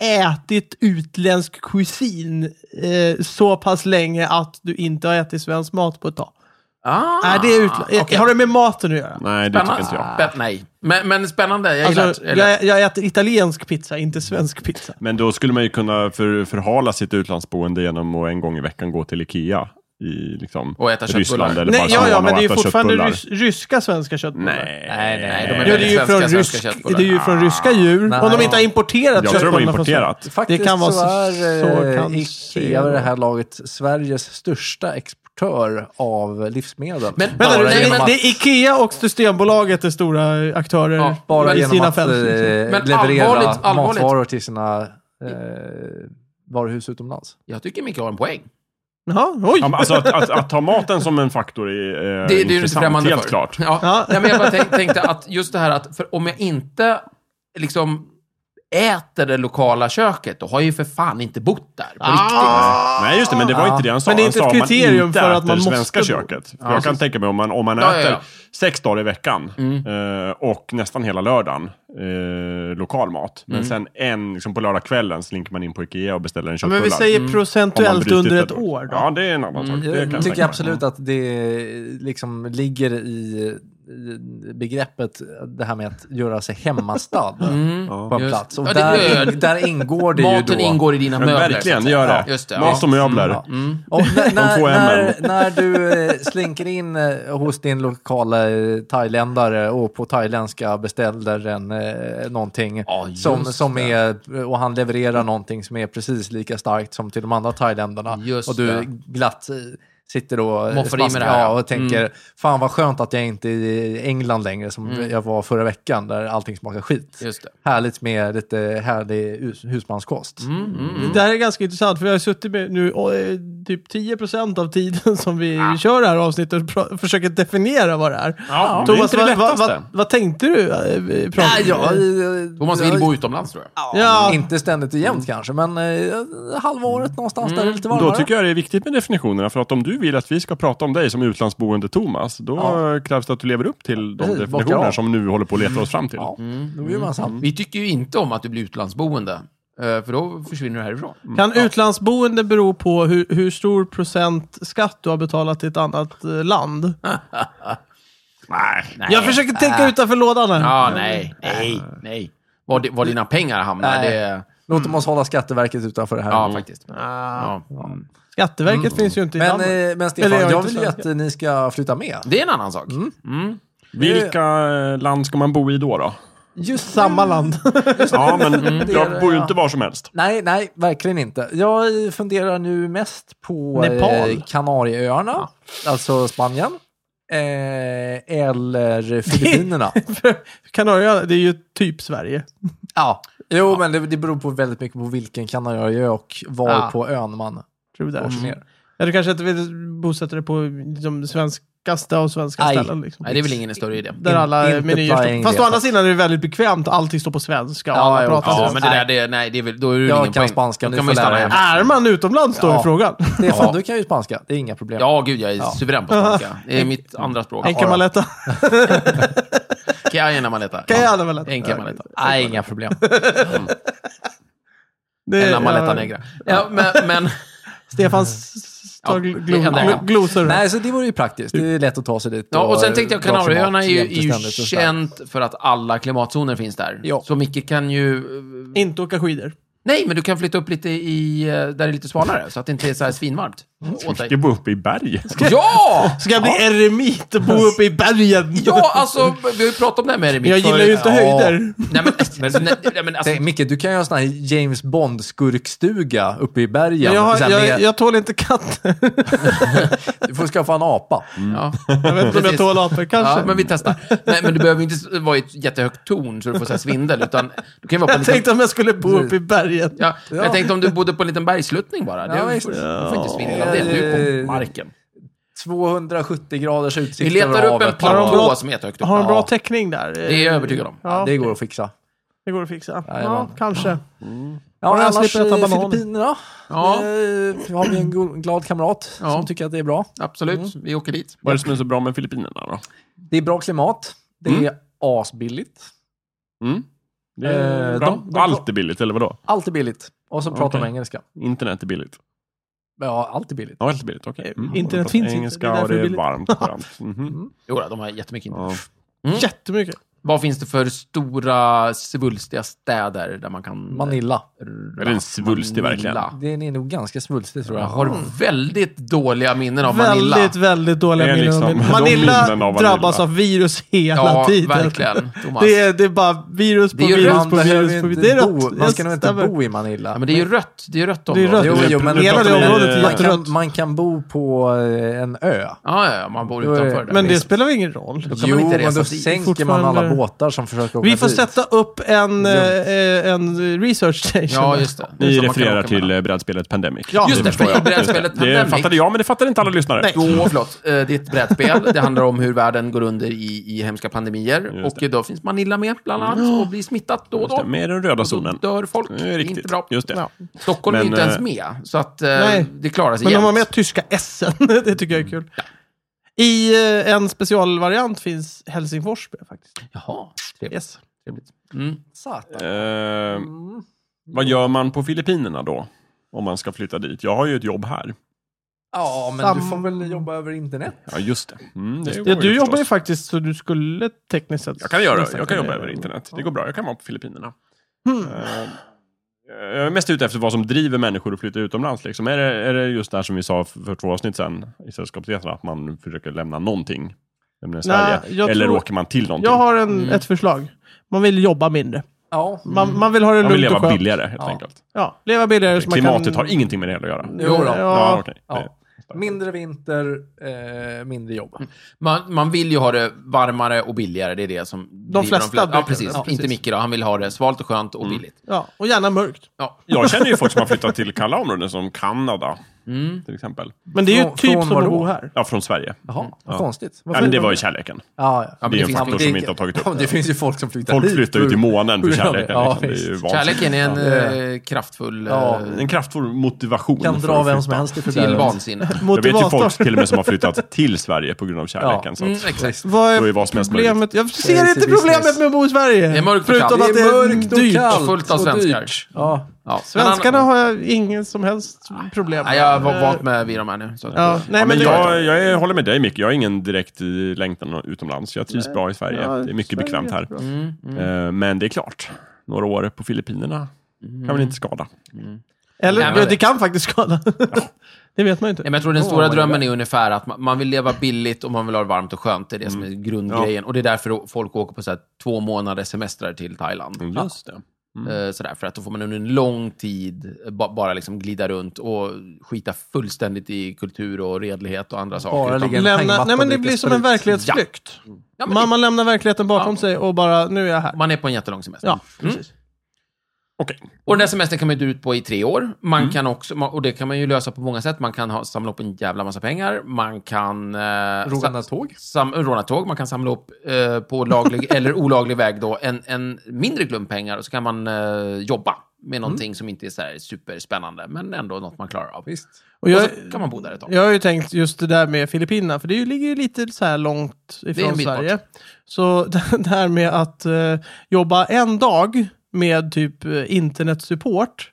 [SPEAKER 1] ätit utländsk kusin eh, så pass länge att du inte har ätit svensk mat på ett tag?
[SPEAKER 2] Ah,
[SPEAKER 1] är det utla-
[SPEAKER 2] okej.
[SPEAKER 1] Har det med maten att göra?
[SPEAKER 4] Nej, det tycker
[SPEAKER 2] Spännande.
[SPEAKER 4] inte jag.
[SPEAKER 2] Spä- Nej, men, men spännande. Jag gillar
[SPEAKER 1] Alltså,
[SPEAKER 2] det. Eller-
[SPEAKER 1] jag, jag äter italiensk pizza, inte svensk pizza.
[SPEAKER 4] Men då skulle man ju kunna för, förhala sitt utlandsboende genom att en gång i veckan gå till Ikea. i liksom,
[SPEAKER 2] Och äta köttbullar.
[SPEAKER 4] Ryssland eller
[SPEAKER 1] Nej,
[SPEAKER 4] Barcelona
[SPEAKER 1] ja, ja, men det är
[SPEAKER 4] och
[SPEAKER 1] ju
[SPEAKER 4] äta
[SPEAKER 1] fortfarande
[SPEAKER 4] köttbullar.
[SPEAKER 1] rys ryska svenska köttbullar.
[SPEAKER 4] Nej.
[SPEAKER 2] Nej, nej, de
[SPEAKER 1] Ja,
[SPEAKER 2] är
[SPEAKER 1] det, är
[SPEAKER 2] väldigt
[SPEAKER 1] ju
[SPEAKER 2] svenska,
[SPEAKER 1] från
[SPEAKER 2] svenska
[SPEAKER 1] rysk,
[SPEAKER 2] köttbullar.
[SPEAKER 1] det är ju från ryska djur.
[SPEAKER 3] Nej.
[SPEAKER 1] Om de inte har importerat
[SPEAKER 4] Jag tror de har
[SPEAKER 1] köttbullarna från Sverige.
[SPEAKER 4] importerat.
[SPEAKER 3] Faktiskt
[SPEAKER 1] kan vara
[SPEAKER 3] så
[SPEAKER 1] så-
[SPEAKER 3] är
[SPEAKER 1] så
[SPEAKER 3] eh,
[SPEAKER 1] kan
[SPEAKER 3] Ikea
[SPEAKER 1] se-
[SPEAKER 3] vid det här laget Sveriges största exportör av livsmedel.
[SPEAKER 2] Men-
[SPEAKER 3] bara
[SPEAKER 1] Vänta,
[SPEAKER 2] nej,
[SPEAKER 1] det,
[SPEAKER 3] genom
[SPEAKER 2] men
[SPEAKER 1] det,
[SPEAKER 3] att,
[SPEAKER 1] det är Ikea och Systembolaget är stora aktörer
[SPEAKER 2] Ja,
[SPEAKER 3] bara
[SPEAKER 1] i
[SPEAKER 3] genom
[SPEAKER 1] sina
[SPEAKER 3] att eh,
[SPEAKER 1] fält. liksom.
[SPEAKER 2] Men
[SPEAKER 3] leverera
[SPEAKER 2] allvarligt, allvarligt.
[SPEAKER 3] matvaror till sina eh, varuhus utomlands.
[SPEAKER 2] Jag tycker Micke har en poäng.
[SPEAKER 1] Jaha, oj!
[SPEAKER 4] Ja, men alltså att, att, att ta maten som en faktor är, eh,
[SPEAKER 2] Det, det är ju inte
[SPEAKER 4] intressant,
[SPEAKER 2] främmande
[SPEAKER 4] helt
[SPEAKER 2] för.
[SPEAKER 4] klart.
[SPEAKER 2] Ja.
[SPEAKER 1] Ja.
[SPEAKER 2] Nej, men jag bara tänk, tänkte att just det här att för om jag inte liksom äter det lokala köket, då har jag ju för fan inte bott där.
[SPEAKER 1] Ah.
[SPEAKER 2] På riktigt.
[SPEAKER 4] Nej, just det, men det var inte det han sa.
[SPEAKER 1] Men det är
[SPEAKER 4] Han
[SPEAKER 1] inte
[SPEAKER 4] sa
[SPEAKER 1] ett
[SPEAKER 4] om man
[SPEAKER 1] kriterium
[SPEAKER 4] inte
[SPEAKER 1] för att
[SPEAKER 4] äter
[SPEAKER 1] man
[SPEAKER 4] det
[SPEAKER 1] måste
[SPEAKER 4] svenska
[SPEAKER 1] bo.
[SPEAKER 4] köket. För jag kan tänka mig om man, om man
[SPEAKER 2] Ja, Mm. ja,
[SPEAKER 4] äter
[SPEAKER 2] ja.
[SPEAKER 4] sex dagar i veckan eh, och nästan hela lördagen eh, lokal mat. Men
[SPEAKER 2] Mm.
[SPEAKER 4] sen en, liksom på lördagskvällen slinker man in på Ikea och beställer en köttbullar.
[SPEAKER 1] Men vi säger
[SPEAKER 4] Mm.
[SPEAKER 2] Mm.
[SPEAKER 4] Om man
[SPEAKER 1] procentuellt
[SPEAKER 4] bryter
[SPEAKER 1] under
[SPEAKER 4] det
[SPEAKER 1] ett
[SPEAKER 4] då. Mm,
[SPEAKER 1] år då.
[SPEAKER 4] Ja, det är en annan sak. Det kan
[SPEAKER 3] Jag tycker
[SPEAKER 4] tänka mig.
[SPEAKER 3] absolut att det liksom ligger i, i begreppet det här med att göra sig hemmastad på en
[SPEAKER 2] Just.
[SPEAKER 3] plats. Och
[SPEAKER 2] Ja, det gör
[SPEAKER 3] där,
[SPEAKER 2] jag.
[SPEAKER 3] där ingår det ju då...
[SPEAKER 2] Maten ingår i dina
[SPEAKER 4] Men
[SPEAKER 2] möbler.
[SPEAKER 4] verkligen,
[SPEAKER 2] så att
[SPEAKER 4] gör
[SPEAKER 2] säga.
[SPEAKER 4] det.
[SPEAKER 2] Ja, Just det.
[SPEAKER 4] Mat som möbler.
[SPEAKER 3] Ja.
[SPEAKER 2] Mm.
[SPEAKER 3] Och när, när,
[SPEAKER 4] två
[SPEAKER 3] när,
[SPEAKER 4] M:en.
[SPEAKER 3] när du eh, slinker in eh, hos din lokala eh, thailändare och på thailändska beställer en eh, någonting
[SPEAKER 2] Ja, just
[SPEAKER 3] som, som
[SPEAKER 2] det.
[SPEAKER 3] är, och han levererar någonting som är precis lika starkt som till de andra thailändarna
[SPEAKER 2] Just
[SPEAKER 3] och du
[SPEAKER 2] det.
[SPEAKER 3] glatt eh, sitter och
[SPEAKER 2] Moffar i med
[SPEAKER 3] smaskar-
[SPEAKER 2] det här,
[SPEAKER 3] ja,
[SPEAKER 2] ja. Mm.
[SPEAKER 3] och tänker fan vad skönt att jag inte är i England längre som jag var förra veckan där allting smakar skit.
[SPEAKER 2] Just det. Mm,
[SPEAKER 3] Härligt med lite härlig hus- husmanskost.
[SPEAKER 1] Mm. Det här är ganska intressant för jag har suttit med nu eh, typ 10% av tiden som vi kör det här avsnittet och pra- försöker definiera vad det är.
[SPEAKER 4] Ja, det är
[SPEAKER 1] Thomas,
[SPEAKER 4] inte det
[SPEAKER 1] vad, vad,
[SPEAKER 4] lättaste.
[SPEAKER 1] vad, vad tänkte du? eh, prata-
[SPEAKER 3] Ja, jag, eh,
[SPEAKER 2] Thomas
[SPEAKER 3] jag-
[SPEAKER 2] vill bo utomlands tror jag.
[SPEAKER 1] Ja. Mm.
[SPEAKER 3] Inte ständigt och jämt kanske, men eh, halva året någonstans där är det lite varmare.
[SPEAKER 4] Då tycker jag det är viktigt med definitionerna, för att om du vill att vi ska prata om dig som utlandsboende Thomas, då
[SPEAKER 3] Ja.
[SPEAKER 4] krävs det att du lever upp till de
[SPEAKER 3] Precis, bocka
[SPEAKER 4] definitioner
[SPEAKER 3] av.
[SPEAKER 4] som nu håller på att leta oss fram till.
[SPEAKER 3] Ja,
[SPEAKER 1] Mm.
[SPEAKER 3] då gör man sant.
[SPEAKER 2] Vi tycker ju inte om att du blir utlandsboende, eh, för då försvinner du härifrån.
[SPEAKER 1] Kan utlandsboende bero på hur, hur stor procent skatt du har betalat till ett annat eh, land?
[SPEAKER 4] Nej.
[SPEAKER 1] Jag försöker tänka utanför lådan här.
[SPEAKER 2] Ja, nej, nej, nej. Var, di- var dina pengar hamnar,
[SPEAKER 3] Nej.
[SPEAKER 2] det...
[SPEAKER 3] Låt dem oss hålla Skatteverket utanför det här.
[SPEAKER 2] Ja, faktiskt.
[SPEAKER 1] Ah.
[SPEAKER 2] Ja.
[SPEAKER 1] Skatteverket
[SPEAKER 4] Mm.
[SPEAKER 1] finns ju inte i
[SPEAKER 3] Men,
[SPEAKER 1] Danmark. [laughs]
[SPEAKER 3] eh, men Stefan,
[SPEAKER 1] Eller jag är
[SPEAKER 3] jag
[SPEAKER 1] inte
[SPEAKER 3] vill ju
[SPEAKER 1] svensk.
[SPEAKER 3] att eh, ni ska flytta med.
[SPEAKER 2] Det är en annan sak.
[SPEAKER 1] Mm.
[SPEAKER 4] Vilka eh, land ska man bo i då? då?
[SPEAKER 1] Just samma
[SPEAKER 3] Mm.
[SPEAKER 1] land.
[SPEAKER 4] Ja, men jag bor ju
[SPEAKER 3] ja.
[SPEAKER 4] inte var som helst.
[SPEAKER 3] [laughs] Nej, nej, verkligen inte. Jag eh, funderar nu mest på eh,
[SPEAKER 1] Nepal.
[SPEAKER 3] Kanarieöarna, alltså Spanien, eh,
[SPEAKER 1] [laughs]
[SPEAKER 3] eller Filippinerna.
[SPEAKER 1] Kanarieöarna, det är ju typ Sverige.
[SPEAKER 3] ja. Jo, men det, det beror på väldigt mycket på vilken Kanarieö och var
[SPEAKER 1] Ja.
[SPEAKER 3] på ön man
[SPEAKER 1] Tror det.
[SPEAKER 3] åker ner.
[SPEAKER 1] Ja, du kanske inte vill bosätta dig på liksom, svenskaste av svenska
[SPEAKER 3] Nej.
[SPEAKER 1] ställen. Liksom.
[SPEAKER 2] Nej, det är väl ingen större idé.
[SPEAKER 1] Där alla
[SPEAKER 3] Inte
[SPEAKER 1] menyer står.
[SPEAKER 3] playing
[SPEAKER 1] Fast å
[SPEAKER 3] det.
[SPEAKER 1] andra sidan är det väldigt bekvämt. Allting står på svenska och
[SPEAKER 3] Ja,
[SPEAKER 1] alla
[SPEAKER 3] jo,
[SPEAKER 1] pratar
[SPEAKER 2] Ja, men
[SPEAKER 1] svenska.
[SPEAKER 2] det där, det, nej, det är väl, då är det
[SPEAKER 3] Jag
[SPEAKER 2] ingen
[SPEAKER 3] kan
[SPEAKER 2] poäng.
[SPEAKER 3] spanska,
[SPEAKER 2] Då
[SPEAKER 3] ni
[SPEAKER 2] kan
[SPEAKER 3] får
[SPEAKER 2] man ju stanna
[SPEAKER 3] lära er.
[SPEAKER 2] hemma.
[SPEAKER 1] Är man utomlands då
[SPEAKER 3] Ja.
[SPEAKER 1] är frågan.
[SPEAKER 3] Stefan,
[SPEAKER 2] Ja.
[SPEAKER 3] du kan ju spanska. Det är inga problem.
[SPEAKER 2] Ja, gud, jag är suverän på
[SPEAKER 3] [laughs]
[SPEAKER 2] spanska. Det är mitt andra språk.
[SPEAKER 1] En kan man lätta.
[SPEAKER 2] Kajen när man letar.
[SPEAKER 1] Kan jag man lätta.
[SPEAKER 2] En kan man lätta.
[SPEAKER 3] Nej, inga problem.
[SPEAKER 1] Det
[SPEAKER 2] En
[SPEAKER 1] är-
[SPEAKER 2] amaletta
[SPEAKER 1] ja.
[SPEAKER 2] negra. Ja, men, men
[SPEAKER 1] Stefan s- s-
[SPEAKER 2] Ja,
[SPEAKER 1] tar
[SPEAKER 2] det är
[SPEAKER 1] gl- glo-
[SPEAKER 2] en
[SPEAKER 1] glo-
[SPEAKER 2] annan.
[SPEAKER 1] glosor.
[SPEAKER 3] [laughs] Nej, så det vore ju praktiskt. Det är lätt att ta sig dit.
[SPEAKER 2] ja, och sen tänkte jag
[SPEAKER 3] bra klimat
[SPEAKER 2] Kanarieöarna är ju, är
[SPEAKER 3] jämt och
[SPEAKER 2] ju
[SPEAKER 3] ständigt och så där.
[SPEAKER 2] känt för att alla klimatzoner finns där.
[SPEAKER 3] Ja.
[SPEAKER 2] Så Micke kan ju...
[SPEAKER 1] Inte åka skidor.
[SPEAKER 2] Nej, men du kan flytta upp lite i... eh, Där det är lite svalare, så att det inte är så här svinvarmt.
[SPEAKER 3] Mm.
[SPEAKER 2] Åt dig.
[SPEAKER 4] Jag bor uppe i berg.
[SPEAKER 2] Ja!
[SPEAKER 1] Ska jag bli
[SPEAKER 2] [laughs]
[SPEAKER 1] eremit och bo uppe i bergen?
[SPEAKER 2] Ja, alltså, vi har ju pratat om det här med Remit
[SPEAKER 1] Jag gillar ju inte
[SPEAKER 3] Ja.
[SPEAKER 1] höjder.
[SPEAKER 2] Nej, men, nej, nej, men alltså,
[SPEAKER 3] Tänk, Micke, du kan göra en sån här James Bond-skurkstuga uppe i bergen.
[SPEAKER 1] Men Jag,
[SPEAKER 3] Så
[SPEAKER 1] har,
[SPEAKER 3] här
[SPEAKER 1] jag,
[SPEAKER 3] med,
[SPEAKER 1] jag tål inte katter.
[SPEAKER 3] Du får skaffa en apa.
[SPEAKER 2] ja.
[SPEAKER 1] Jag vet inte om jag
[SPEAKER 2] Precis.
[SPEAKER 1] tål apor kanske.
[SPEAKER 2] Ja, men vi testar. Nej, men du behöver ju inte vara i ett jättehögt torn så du får så här svindel, utan du kan ju vara på en
[SPEAKER 1] Jag
[SPEAKER 2] liten...
[SPEAKER 1] tänkte om jag skulle bo uppe i bergen.
[SPEAKER 2] Ja, men
[SPEAKER 3] Ja.
[SPEAKER 2] Jag tänkte om du bodde på en liten bergsluttning bara.
[SPEAKER 3] Ja,
[SPEAKER 2] Det,
[SPEAKER 3] visst.
[SPEAKER 2] du får inte svindel av det. Du är på marken.
[SPEAKER 3] 270 Eh, graders utsikt
[SPEAKER 2] Vi letar
[SPEAKER 3] över
[SPEAKER 2] upp en
[SPEAKER 3] havet.
[SPEAKER 1] bra-
[SPEAKER 2] platå som är jättehögt upp.
[SPEAKER 1] Har de bra
[SPEAKER 3] Ja.
[SPEAKER 1] täckning där?
[SPEAKER 2] Det är jag övertygad om.
[SPEAKER 1] Ja,
[SPEAKER 3] Det går att fixa.
[SPEAKER 1] det går att fixa. Ja,
[SPEAKER 3] Jajamän.
[SPEAKER 1] kanske.
[SPEAKER 3] Ja,
[SPEAKER 1] Och jag
[SPEAKER 3] annars
[SPEAKER 1] slipper äta
[SPEAKER 3] eh,
[SPEAKER 1] bananer.
[SPEAKER 3] Filippinerna.
[SPEAKER 2] Ja.
[SPEAKER 3] Eh, har vi en go- glad kamrat
[SPEAKER 2] Ja.
[SPEAKER 3] som tycker att det är bra.
[SPEAKER 2] Absolut,
[SPEAKER 1] Mm.
[SPEAKER 2] vi åker dit.
[SPEAKER 4] Vad är det som är så bra med Filippinerna då?
[SPEAKER 3] Det är bra klimat. Det
[SPEAKER 2] Mm.
[SPEAKER 3] är asbilligt.
[SPEAKER 4] Mm? Det är
[SPEAKER 3] Eh,
[SPEAKER 4] bra.
[SPEAKER 3] de- de-
[SPEAKER 4] Allt är billigt, eller vadå?
[SPEAKER 3] Allt är billigt. Och så pratar de
[SPEAKER 4] Okej.
[SPEAKER 3] engelska.
[SPEAKER 4] Internet är billigt.
[SPEAKER 3] Ja, allt är billigt.
[SPEAKER 4] Ja, allt är billigt. Okej. Mm.
[SPEAKER 1] Internet
[SPEAKER 4] Och de pratar
[SPEAKER 1] finns inte, det är
[SPEAKER 4] engelska
[SPEAKER 1] därför
[SPEAKER 4] och det
[SPEAKER 1] det är
[SPEAKER 4] är
[SPEAKER 1] billigt.
[SPEAKER 4] varmt och skönt. Mhm.
[SPEAKER 2] Jo, de har jättemycket internet.
[SPEAKER 4] Ja.
[SPEAKER 2] Mm.
[SPEAKER 1] Jättemycket.
[SPEAKER 2] Vad finns det för stora, svulstiga städer där man kan...
[SPEAKER 3] Manila.
[SPEAKER 4] Är den svulstig verkligen?
[SPEAKER 2] Manilla.
[SPEAKER 3] Den är nog ganska svulstig tror
[SPEAKER 2] Jag
[SPEAKER 3] jag.
[SPEAKER 2] har väldigt dåliga minnen av Manilla.
[SPEAKER 1] Väldigt, väldigt dåliga
[SPEAKER 4] Det är
[SPEAKER 1] minnen.
[SPEAKER 4] liksom
[SPEAKER 1] av min-
[SPEAKER 4] de
[SPEAKER 1] Manilla
[SPEAKER 4] minnen av
[SPEAKER 1] drabbas
[SPEAKER 4] Manila.
[SPEAKER 1] av virus hela
[SPEAKER 2] ja,
[SPEAKER 1] tiden.
[SPEAKER 2] verkligen. Thomas.
[SPEAKER 1] Det är, det är bara virus på
[SPEAKER 2] Det är ju
[SPEAKER 1] virus
[SPEAKER 2] rött.
[SPEAKER 1] på
[SPEAKER 3] Man, behöver
[SPEAKER 1] virus på
[SPEAKER 3] ju
[SPEAKER 1] virus. Det är
[SPEAKER 3] inte
[SPEAKER 1] rött.
[SPEAKER 3] bo, man ska
[SPEAKER 1] Det
[SPEAKER 3] nog inte
[SPEAKER 1] stämmer.
[SPEAKER 3] bo i Manilla.
[SPEAKER 2] Ja, men det är ju rött. Det är ju rött
[SPEAKER 1] Det är
[SPEAKER 2] område.
[SPEAKER 1] rött.
[SPEAKER 3] Jo, jo, men
[SPEAKER 1] Hela
[SPEAKER 4] pratar
[SPEAKER 1] det
[SPEAKER 4] vi-
[SPEAKER 1] området är
[SPEAKER 4] man
[SPEAKER 3] man,
[SPEAKER 1] jätterött.
[SPEAKER 3] kan, man kan bo på eh, en ö.
[SPEAKER 2] Ja, ja, ja, man bor
[SPEAKER 3] Då är det-
[SPEAKER 2] utanför där.
[SPEAKER 1] Men det
[SPEAKER 2] Visst.
[SPEAKER 1] spelar väl ingen roll?
[SPEAKER 2] Då kan
[SPEAKER 3] Jo,
[SPEAKER 2] man inte
[SPEAKER 3] men
[SPEAKER 2] resa
[SPEAKER 3] då
[SPEAKER 2] dit.
[SPEAKER 3] sänker man
[SPEAKER 1] Fortfarande-
[SPEAKER 3] alla båtar som försöker åka
[SPEAKER 1] Vi får
[SPEAKER 3] dit.
[SPEAKER 1] sätta upp en, eh, en research station.
[SPEAKER 2] Ja, just det. det. är
[SPEAKER 4] Ni
[SPEAKER 2] så man kan
[SPEAKER 4] refererar
[SPEAKER 2] åka med
[SPEAKER 4] till
[SPEAKER 2] den.
[SPEAKER 4] eh, brädspelet Pandemic.
[SPEAKER 1] Ja.
[SPEAKER 2] Just det,
[SPEAKER 4] förstår
[SPEAKER 2] för
[SPEAKER 4] jag.
[SPEAKER 2] brädspelet
[SPEAKER 4] Det
[SPEAKER 2] Pandemic.
[SPEAKER 4] fattade jag, men det fattade inte alla lyssnare.
[SPEAKER 1] Nej.
[SPEAKER 2] Då, förlåt, eh, det är ett brädspel. Det handlar om hur världen går under i, i hemska pandemier. Och eh, då finns Manilla med, bland annat, och blir smittat då och
[SPEAKER 4] Just det,
[SPEAKER 2] då.
[SPEAKER 4] Med den röda
[SPEAKER 2] Och då
[SPEAKER 4] zonen.
[SPEAKER 2] dör folk.
[SPEAKER 4] Eh,
[SPEAKER 2] Det är
[SPEAKER 4] riktigt.
[SPEAKER 2] inte bra.
[SPEAKER 4] Just det.
[SPEAKER 1] Ja.
[SPEAKER 2] Stockholm är
[SPEAKER 4] Men,
[SPEAKER 2] ju inte ens
[SPEAKER 4] eh,
[SPEAKER 2] med, så att eh,
[SPEAKER 1] Nej.
[SPEAKER 2] det klarar sig
[SPEAKER 1] Men de har
[SPEAKER 2] jämt.
[SPEAKER 1] med tyska S. [laughs] det tycker jag är kul. I eh, en specialvariant finns Helsingfors med faktiskt.
[SPEAKER 2] Jaha, trevligt.
[SPEAKER 1] Yes.
[SPEAKER 2] trevligt. Mm.
[SPEAKER 3] Satan.
[SPEAKER 4] Eh,
[SPEAKER 3] Mm.
[SPEAKER 4] vad gör man på Filippinerna då? Om man ska flytta dit? Jag har ju ett jobb här.
[SPEAKER 3] Ja, men
[SPEAKER 1] Sam-
[SPEAKER 3] du får väl jobba över internet.
[SPEAKER 4] Ja, just det. Mm, det går
[SPEAKER 1] Ja, du jobbar ju
[SPEAKER 4] förstås.
[SPEAKER 1] faktiskt så du skulle tekniskt sett...
[SPEAKER 4] Jag kan göra det.
[SPEAKER 1] nästan
[SPEAKER 4] Jag kan jobba
[SPEAKER 1] kunna
[SPEAKER 4] över
[SPEAKER 1] göra det.
[SPEAKER 4] internet. Det går bra. Jag kan vara på Filippinerna.
[SPEAKER 1] Hmm.
[SPEAKER 4] Eh, Jag är mest ute efter vad som driver människor att flytta utomlands. Liksom. Är, det, är det just det här som vi sa för för två avsnitt sedan i Sällskapsresan, att man försöker lämna någonting? Lämna Sverige.
[SPEAKER 1] jag
[SPEAKER 4] Eller
[SPEAKER 1] tror-
[SPEAKER 4] åker man till någonting?
[SPEAKER 1] Jag har en,
[SPEAKER 2] Mm.
[SPEAKER 1] ett förslag. Man vill jobba mindre.
[SPEAKER 3] Ja,
[SPEAKER 1] Man, man vill ha det
[SPEAKER 4] Man vill
[SPEAKER 1] lugnt och
[SPEAKER 4] leva
[SPEAKER 1] skönt.
[SPEAKER 4] billigare helt
[SPEAKER 3] Ja.
[SPEAKER 4] enkelt.
[SPEAKER 1] Ja, leva billigare. så man
[SPEAKER 4] Klimatet
[SPEAKER 1] kan...
[SPEAKER 4] har ingenting med det hela att göra.
[SPEAKER 3] Jo då.
[SPEAKER 1] Ja.
[SPEAKER 4] Ja, okej. Eh,
[SPEAKER 3] Ja. Mindre vinter, eh, mindre jobb.
[SPEAKER 2] Man, man vill ju ha det varmare och billigare. Det är det som driver
[SPEAKER 1] flesta
[SPEAKER 2] Ja,
[SPEAKER 1] brukar-
[SPEAKER 2] precis.
[SPEAKER 1] ja, precis.
[SPEAKER 2] Inte Micke då. Han vill ha det svalt och skönt och
[SPEAKER 4] Mm.
[SPEAKER 2] billigt.
[SPEAKER 1] Ja, och gärna mörkt.
[SPEAKER 2] Ja.
[SPEAKER 4] Jag känner ju folk som har flyttat till kalla områden som Kanada,
[SPEAKER 2] Mm.
[SPEAKER 4] till exempel.
[SPEAKER 1] Men det är ju
[SPEAKER 3] Från-
[SPEAKER 1] typ
[SPEAKER 3] från
[SPEAKER 1] som
[SPEAKER 3] var
[SPEAKER 1] att
[SPEAKER 3] då?
[SPEAKER 1] bo här.
[SPEAKER 4] Ja, från Sverige.
[SPEAKER 3] Jaha, vad
[SPEAKER 4] Ja.
[SPEAKER 3] konstigt.
[SPEAKER 4] Ja,
[SPEAKER 3] Varför-
[SPEAKER 4] men det var ju kärleken.
[SPEAKER 3] Ja, Mm. ja.
[SPEAKER 2] Ja, men
[SPEAKER 4] Det är en
[SPEAKER 2] finns-
[SPEAKER 4] faktor
[SPEAKER 2] det-
[SPEAKER 4] som
[SPEAKER 2] [laughs]
[SPEAKER 4] vi inte har tagit
[SPEAKER 3] Ja,
[SPEAKER 4] upp.
[SPEAKER 3] det finns ju folk som flyttar
[SPEAKER 4] Folk
[SPEAKER 3] hit.
[SPEAKER 4] flyttar ju till månen för kärleken.
[SPEAKER 3] Ja,
[SPEAKER 4] liksom. Det är ju
[SPEAKER 3] visst.
[SPEAKER 4] vansinnigt.
[SPEAKER 2] Kärleken är en
[SPEAKER 3] Ja.
[SPEAKER 2] eh, kraftfull...
[SPEAKER 3] Ja,
[SPEAKER 2] eh,
[SPEAKER 4] En kraftfull motivation.
[SPEAKER 3] Kan
[SPEAKER 4] för
[SPEAKER 3] dra
[SPEAKER 4] att
[SPEAKER 3] vem
[SPEAKER 4] flytta.
[SPEAKER 3] som helst i
[SPEAKER 2] till
[SPEAKER 3] fördärvet.
[SPEAKER 4] [laughs]
[SPEAKER 2] vansinne.
[SPEAKER 4] Jag vet ju folk
[SPEAKER 1] Motivator.
[SPEAKER 4] till och med som har flyttat till Sverige på grund av kärleken.
[SPEAKER 3] Ja.
[SPEAKER 4] Så
[SPEAKER 2] Mm,
[SPEAKER 4] att,
[SPEAKER 2] exakt.
[SPEAKER 1] Vad
[SPEAKER 4] Då är
[SPEAKER 1] är
[SPEAKER 4] vad som helst
[SPEAKER 1] problemet? Jag ser
[SPEAKER 3] Fancy
[SPEAKER 1] inte problemet med att bo i Sverige.
[SPEAKER 2] Det är mörkt och
[SPEAKER 1] Förutom
[SPEAKER 2] kallt.
[SPEAKER 1] att det är mörkt och dyrt.
[SPEAKER 2] Och fullt av
[SPEAKER 3] och
[SPEAKER 2] svenskar.
[SPEAKER 3] dyrt. Ja.
[SPEAKER 2] Ja.
[SPEAKER 1] Svenskarna
[SPEAKER 2] Men han-
[SPEAKER 1] har jag ingen som helst problem
[SPEAKER 2] Nej, jag var
[SPEAKER 1] Eh,
[SPEAKER 2] vant med vid de här nu. Så att,
[SPEAKER 1] Ja, nej,
[SPEAKER 4] Ja,
[SPEAKER 1] men
[SPEAKER 4] men
[SPEAKER 1] det,
[SPEAKER 4] jag, jag är, håller med dig Micke, jag har ingen direkt eh, längtan utomlands. Jag trivs bra i Sverige,
[SPEAKER 1] Ja,
[SPEAKER 4] det är mycket
[SPEAKER 1] Sverige
[SPEAKER 4] bekvämt
[SPEAKER 1] är
[SPEAKER 4] här.
[SPEAKER 1] bra.
[SPEAKER 2] Mm, mm,
[SPEAKER 4] Eh, Men det är klart, några år på Filippinerna kan väl inte skada.
[SPEAKER 1] Eller,
[SPEAKER 2] Nej, men-
[SPEAKER 1] det kan faktiskt skada. [laughs] det vet man ju inte.
[SPEAKER 2] Ja, men jag tror den
[SPEAKER 3] Oh
[SPEAKER 2] stora
[SPEAKER 3] my
[SPEAKER 2] drömmen
[SPEAKER 3] God.
[SPEAKER 2] är ungefär att man, man vill leva billigt och man vill ha det varmt och skönt. Det är det som är grundgrejen. Och det är därför folk åker på så här två månaders semestrar till Thailand.
[SPEAKER 4] Mm, Just det.
[SPEAKER 2] Eh, Sådär, för att då får man under en lång tid ba- bara liksom glida runt och skita fullständigt i kultur och redlighet och andra saker.
[SPEAKER 3] Bara
[SPEAKER 2] Utan-
[SPEAKER 3] ligga- en
[SPEAKER 1] Lämna,
[SPEAKER 3] hängmatta
[SPEAKER 1] nej, men det
[SPEAKER 3] och
[SPEAKER 1] blir
[SPEAKER 3] dricka
[SPEAKER 1] som en
[SPEAKER 3] sprit.
[SPEAKER 1] verklighetsflykt.
[SPEAKER 2] Mm. Ja, men
[SPEAKER 1] man, man lämnar verkligheten bakom
[SPEAKER 2] Ja.
[SPEAKER 1] sig och bara, nu är jag här.
[SPEAKER 2] man är på en jättelång semester.
[SPEAKER 1] Ja,
[SPEAKER 2] Mm.
[SPEAKER 1] precis.
[SPEAKER 4] Okej,
[SPEAKER 2] Och den där semestern kan man ju dra ut på i tre år. Man kan också, ma- och det kan man ju lösa på många sätt. Man kan ha, samla upp en jävla massa pengar. Man kan... Eh,
[SPEAKER 3] Råna
[SPEAKER 2] sa-
[SPEAKER 3] tåg.
[SPEAKER 2] sam, råna tåg. Man kan samla upp eh, på
[SPEAKER 1] [laughs]
[SPEAKER 2] laglig eller olaglig väg då en, en mindre klump pengar och så kan man eh, jobba
[SPEAKER 1] Mm.
[SPEAKER 2] med någonting som inte är så här superspännande, men ändå något man klarar av.
[SPEAKER 3] Visst.
[SPEAKER 1] Och jag,
[SPEAKER 2] och så kan man bo där ett tag.
[SPEAKER 1] jag har ju tänkt just det där med Filippinerna, för det ligger ju lite så här långt ifrån
[SPEAKER 2] bit bort.
[SPEAKER 1] Sverige. Så [laughs] det här med att eh, jobba en dag med typ eh, internetsupport.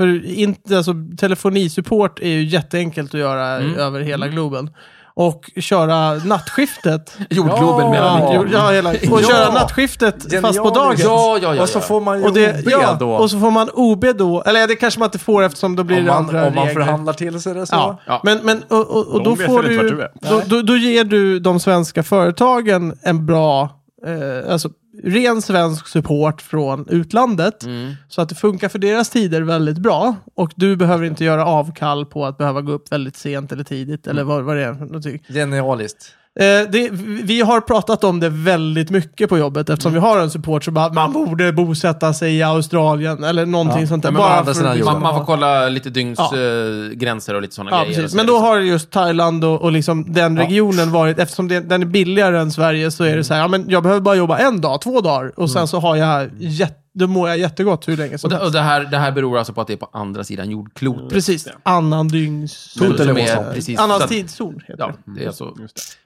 [SPEAKER 1] För in, alltså, telefonisupport är ju jätteenkelt att göra
[SPEAKER 2] Mm.
[SPEAKER 1] över hela globen. Och köra
[SPEAKER 2] [laughs]
[SPEAKER 1] nattskiftet.
[SPEAKER 2] Jordgloben
[SPEAKER 3] Ja.
[SPEAKER 2] menar
[SPEAKER 1] Ja,
[SPEAKER 2] vi.
[SPEAKER 1] jo, ja, hela, och
[SPEAKER 3] Ja.
[SPEAKER 1] köra nattskiftet fast på dagen.
[SPEAKER 3] Genialiskt.
[SPEAKER 2] Ja, ja, ja,
[SPEAKER 3] Och så
[SPEAKER 2] ja.
[SPEAKER 3] får man ju
[SPEAKER 1] Och, det,
[SPEAKER 3] OB
[SPEAKER 1] ja,
[SPEAKER 3] då.
[SPEAKER 1] och så får man OB då. Eller det kanske man inte får eftersom då blir
[SPEAKER 3] om
[SPEAKER 1] det
[SPEAKER 3] man,
[SPEAKER 1] andra
[SPEAKER 3] om man
[SPEAKER 1] regler.
[SPEAKER 3] förhandlar till sig det så.
[SPEAKER 1] Ja.
[SPEAKER 2] Ja.
[SPEAKER 1] Men, men, och, och, och
[SPEAKER 4] De
[SPEAKER 1] då
[SPEAKER 4] vet
[SPEAKER 1] får
[SPEAKER 4] väl inte
[SPEAKER 1] du,
[SPEAKER 4] vart du
[SPEAKER 1] då, då, då ger du de svenska företagen en bra, eh, alltså ren svensk support från utlandet.
[SPEAKER 3] Mm.
[SPEAKER 1] Så att det funkar för deras tider väldigt bra. Och du behöver inte göra avkall på att behöva gå upp väldigt sent eller tidigt eller
[SPEAKER 3] Mm.
[SPEAKER 1] vad, vad det är. för någonting.
[SPEAKER 3] Genialiskt.
[SPEAKER 1] Eh, det, vi har pratat om det väldigt mycket på jobbet eftersom
[SPEAKER 2] Mm.
[SPEAKER 1] vi har en support som bara, man borde bosätta sig i Australien eller någonting
[SPEAKER 3] Ja,
[SPEAKER 1] sånt där.
[SPEAKER 3] men å andra
[SPEAKER 1] för
[SPEAKER 3] sidan
[SPEAKER 1] att
[SPEAKER 3] jorden.
[SPEAKER 2] Man, man får kolla lite
[SPEAKER 1] Ja.
[SPEAKER 2] dygnsgränser och lite sådana
[SPEAKER 1] Ja,
[SPEAKER 2] grejer. och
[SPEAKER 1] precis.
[SPEAKER 2] så
[SPEAKER 1] Men
[SPEAKER 2] där,
[SPEAKER 1] då
[SPEAKER 2] liksom.
[SPEAKER 1] har just Thailand och, och liksom den regionen varit, eftersom det, den är billigare än Sverige så är
[SPEAKER 2] Mm.
[SPEAKER 1] det så här, ja, men jag behöver bara jobba en dag, två dagar och sen så har jag jätte, då mår jag jättegott hur länge
[SPEAKER 2] och
[SPEAKER 1] som
[SPEAKER 2] det,
[SPEAKER 1] helst.
[SPEAKER 2] och det, här, det här beror alltså på att det är på andra sidan jordklotet.
[SPEAKER 1] Mm. Precis, annan dygns...
[SPEAKER 4] Men-
[SPEAKER 2] Som
[SPEAKER 3] Eller
[SPEAKER 2] är
[SPEAKER 3] vad
[SPEAKER 2] precis, så
[SPEAKER 1] Annan
[SPEAKER 2] att-
[SPEAKER 1] tidszon heter
[SPEAKER 2] Ja,
[SPEAKER 1] det.
[SPEAKER 2] det är
[SPEAKER 1] Mm.
[SPEAKER 2] så.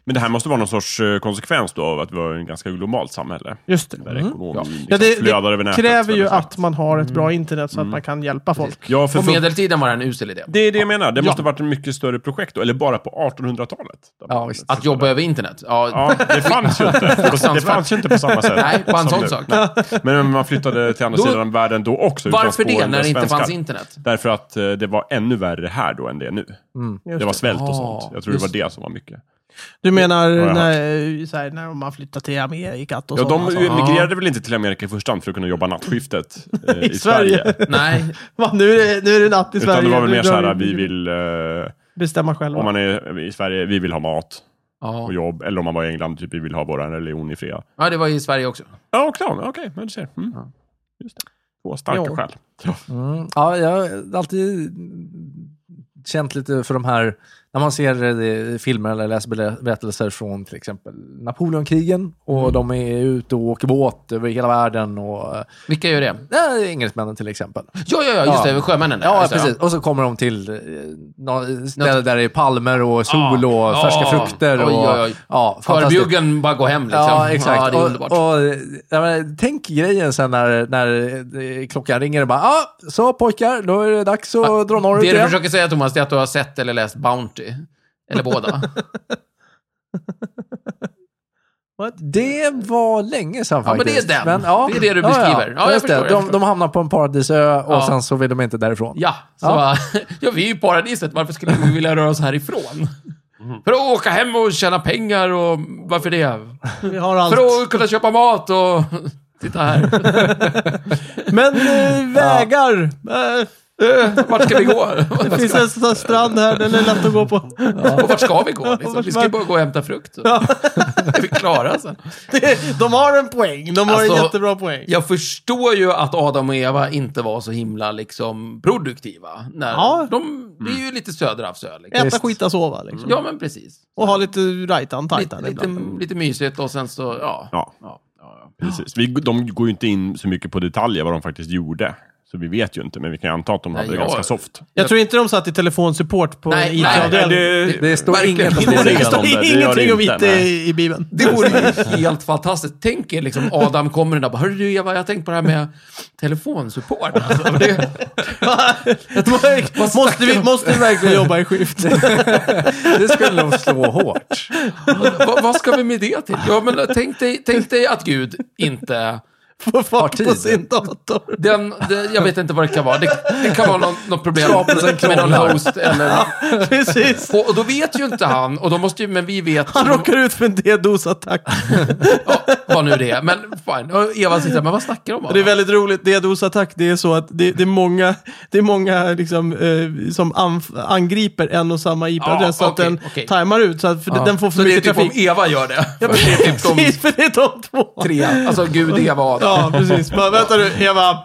[SPEAKER 4] Men det här måste vara någon sorts eh, konsekvens då av att vi har ett ganska globalt samhälle.
[SPEAKER 1] Just det.
[SPEAKER 4] Där ekonomin liksom
[SPEAKER 1] Ja, det,
[SPEAKER 4] flödar över
[SPEAKER 1] det
[SPEAKER 4] nätet.
[SPEAKER 1] kräver ju
[SPEAKER 4] väldigt snabbt.
[SPEAKER 1] att man har ett
[SPEAKER 2] Mm.
[SPEAKER 1] bra internet så att man kan hjälpa folk.
[SPEAKER 4] Ja, för
[SPEAKER 2] På
[SPEAKER 4] för-
[SPEAKER 2] medeltiden var det en usel idé.
[SPEAKER 4] Det är det jag menar. Det
[SPEAKER 1] Ja.
[SPEAKER 4] måste ha varit ett mycket större projekt då, eller bara på 1800-talet.
[SPEAKER 3] Ja, visst.
[SPEAKER 2] Att jobba över internet. Ja,
[SPEAKER 4] Ja, det fanns ju inte. Det fanns ju inte på samma sätt.
[SPEAKER 2] [laughs] Nej, på en
[SPEAKER 4] som
[SPEAKER 2] sån
[SPEAKER 4] nu.
[SPEAKER 2] sak.
[SPEAKER 4] Nej. Men man flyttade eh, till andra
[SPEAKER 2] Då-
[SPEAKER 4] sidan världen då också. utan
[SPEAKER 2] Varför
[SPEAKER 4] spår
[SPEAKER 2] det, när
[SPEAKER 4] av
[SPEAKER 2] det inte
[SPEAKER 4] svenskar?
[SPEAKER 2] fanns internet?
[SPEAKER 4] Därför att eh, det var ännu värre här då än det är nu.
[SPEAKER 3] Mm.
[SPEAKER 1] Just
[SPEAKER 4] det var svält
[SPEAKER 2] Ah,
[SPEAKER 4] och sånt. Jag tror det var
[SPEAKER 2] just
[SPEAKER 4] det som var mycket.
[SPEAKER 1] Du menar
[SPEAKER 4] jag hört.
[SPEAKER 1] när, så här, när man flyttar till Amerika och alltså.
[SPEAKER 4] Ja, de
[SPEAKER 1] sådana saker.
[SPEAKER 4] emigrerade väl inte till Amerika i första hand för att kunna jobba nattskiftet eh, i,
[SPEAKER 1] I Sverige.
[SPEAKER 4] Sverige.
[SPEAKER 2] [laughs] Nej,
[SPEAKER 1] Va, nu, är det, nu är det natt i
[SPEAKER 4] Utan
[SPEAKER 1] Sverige.
[SPEAKER 4] det var väl
[SPEAKER 1] Nu
[SPEAKER 4] mer
[SPEAKER 1] drar
[SPEAKER 4] så här,
[SPEAKER 1] vi-
[SPEAKER 4] vi vill, eh,
[SPEAKER 1] Bestämma själva.
[SPEAKER 4] om man är i Sverige, vi vill ha mat
[SPEAKER 2] ja.
[SPEAKER 4] och jobb. Eller om man var i England, typ vi vill ha vår religion i fred.
[SPEAKER 2] ja, det var ju i Sverige också.
[SPEAKER 4] Ja, och klar. Okej, men du ser. Mm.
[SPEAKER 2] Ja.
[SPEAKER 4] Just det. Två starka
[SPEAKER 1] Ja.
[SPEAKER 4] skäl.
[SPEAKER 3] Mm. Ja, jag har alltid känt lite för de här, när man ser eh, filmer eller läser belä- berättelser från till exempel Napoleonkrigen och de är ute och åker båt över hela världen och eh,
[SPEAKER 2] Vilka gör det?
[SPEAKER 3] ja, engelsmännen till exempel.
[SPEAKER 2] Ja, ja, ja, just
[SPEAKER 3] Ja.
[SPEAKER 2] det, sjömännen där.
[SPEAKER 3] Ja,
[SPEAKER 2] Just det,
[SPEAKER 3] precis. Och så kommer de till eh, nå- ställe där det är palmer och sol och
[SPEAKER 2] Ja.
[SPEAKER 3] färska frukter. Och,
[SPEAKER 2] Oj, oj, oj.
[SPEAKER 3] Ja, fantastiskt.
[SPEAKER 2] Förbjuggen bara gå hem liksom.
[SPEAKER 3] Ja, exakt.
[SPEAKER 2] [laughs] Ja, det är underbart.
[SPEAKER 3] och, och, ja, men, tänk grejen sen när, när eh, klockan ringer och bara ah, så pojkar, då är det dags att dra norrut
[SPEAKER 2] det du
[SPEAKER 3] igen.
[SPEAKER 2] försöker säga Thomas, det är att du har sett eller läst Bounty. Eller [laughs] båda.
[SPEAKER 3] Det var länge sedan
[SPEAKER 2] Ja, men
[SPEAKER 3] faktiskt.
[SPEAKER 2] det är den.
[SPEAKER 3] ja.
[SPEAKER 2] Det är det du beskriver. Ja, jag
[SPEAKER 3] just det.
[SPEAKER 2] förstår, jag
[SPEAKER 3] de, de hamnar på en paradisö och
[SPEAKER 2] Ja.
[SPEAKER 3] sen så vill de inte därifrån.
[SPEAKER 2] ja, så
[SPEAKER 3] Ja.
[SPEAKER 2] ja. [laughs] ja, vi är ju i paradiset. Varför skulle vi vilja röra oss härifrån? För att åka hem och tjäna pengar och varför det?
[SPEAKER 1] Vi har allt.
[SPEAKER 2] För att kunna köpa mat och... [laughs] Titta här.
[SPEAKER 1] Men eh, vägar! Eh,
[SPEAKER 2] Eh, Vart ska vi [laughs] gå?
[SPEAKER 1] det finns en sån här strand här, den är lätt att gå på.
[SPEAKER 2] Och vart ska vi gå? Liksom? Vi ska ju bara gå och hämta frukt. [laughs] Är vi klara sen?
[SPEAKER 1] Det- [laughs] De har en poäng, de har en
[SPEAKER 2] Alltså,
[SPEAKER 1] jättebra poäng.
[SPEAKER 2] Jag förstår ju att Adam och Eva inte var så himla liksom, produktiva. När
[SPEAKER 1] Ja.
[SPEAKER 2] de, det är ju lite söderhavsö. Liksom.
[SPEAKER 1] Äta,
[SPEAKER 3] Visst.
[SPEAKER 1] skita, sova liksom.
[SPEAKER 2] Ja, men precis.
[SPEAKER 1] Och ha lite rajtan,
[SPEAKER 2] Lite,
[SPEAKER 1] tajtan
[SPEAKER 2] lite,
[SPEAKER 1] ibland.
[SPEAKER 2] lite mysigt och sen så, ja.
[SPEAKER 4] Ja,
[SPEAKER 2] ja, ja,
[SPEAKER 4] precis. Vi, de går ju inte in så mycket på detaljer vad de faktiskt gjorde. Så vi vet ju inte, men vi kan ju anta att de hade
[SPEAKER 2] Nej,
[SPEAKER 4] det ganska
[SPEAKER 2] jag-
[SPEAKER 4] soft.
[SPEAKER 1] Jag tror inte de satt i telefonsupport på
[SPEAKER 2] Nej, nej,
[SPEAKER 4] Nej,
[SPEAKER 1] IT-avdelningen. [laughs]
[SPEAKER 4] det,
[SPEAKER 2] Det-
[SPEAKER 3] Det står
[SPEAKER 2] Verkligen.
[SPEAKER 3] inget om
[SPEAKER 4] Det
[SPEAKER 3] det.
[SPEAKER 4] står
[SPEAKER 1] Det
[SPEAKER 4] inget
[SPEAKER 1] står
[SPEAKER 4] om det, det gör
[SPEAKER 1] ingenting
[SPEAKER 4] det
[SPEAKER 1] om
[SPEAKER 4] inte,
[SPEAKER 1] IT i, i Bibeln.
[SPEAKER 2] Det vore
[SPEAKER 1] [laughs]
[SPEAKER 2] ju helt fantastiskt. Tänk er liksom Adam kommer in där och bara, Hörru du Eva, jag har tänkt på det här med telefonsupport. Alltså, det,
[SPEAKER 1] måste, vi, måste vi verkligen jobba
[SPEAKER 4] [laughs]
[SPEAKER 1] i skift?
[SPEAKER 3] Det skulle nog slå hårt.
[SPEAKER 2] vad, vad ska vi med det till? Ja, men tänk dig, tänk dig att Gud inte...
[SPEAKER 1] Få fart på
[SPEAKER 3] tid.
[SPEAKER 1] sin dator. [laughs]
[SPEAKER 2] Den, det- jag vet inte vad det kan vara. Det, det kan vara något, något problem
[SPEAKER 3] Skapelsen
[SPEAKER 2] med någon
[SPEAKER 3] krånglar.
[SPEAKER 2] host eller...
[SPEAKER 1] Precis.
[SPEAKER 2] Och, och då vet ju inte han, och då måste ju, men vi vet
[SPEAKER 1] Han råkar ut för en D-dos-attack.
[SPEAKER 2] ja, vad nu det är. Men fine. Och Eva sitter där, men vad snackar de om?
[SPEAKER 1] Det är väldigt roligt, DDoS-attack, det är så att det, det är många, det är många liksom, eh, som anf- angriper en och samma IP-adress
[SPEAKER 2] Ja,
[SPEAKER 1] så att
[SPEAKER 2] okej,
[SPEAKER 1] den
[SPEAKER 2] okej.
[SPEAKER 1] tajmar ut, så att för den får
[SPEAKER 2] så
[SPEAKER 1] för
[SPEAKER 2] det är
[SPEAKER 1] mycket
[SPEAKER 2] typ om
[SPEAKER 1] trafik.
[SPEAKER 2] Eva gör det. Ja, det är typ de
[SPEAKER 1] [laughs] Precis, för det är de två.
[SPEAKER 2] tre. Alltså Gud, Eva och Adam.
[SPEAKER 1] Ja, precis. Bara, vänta nu, Eva.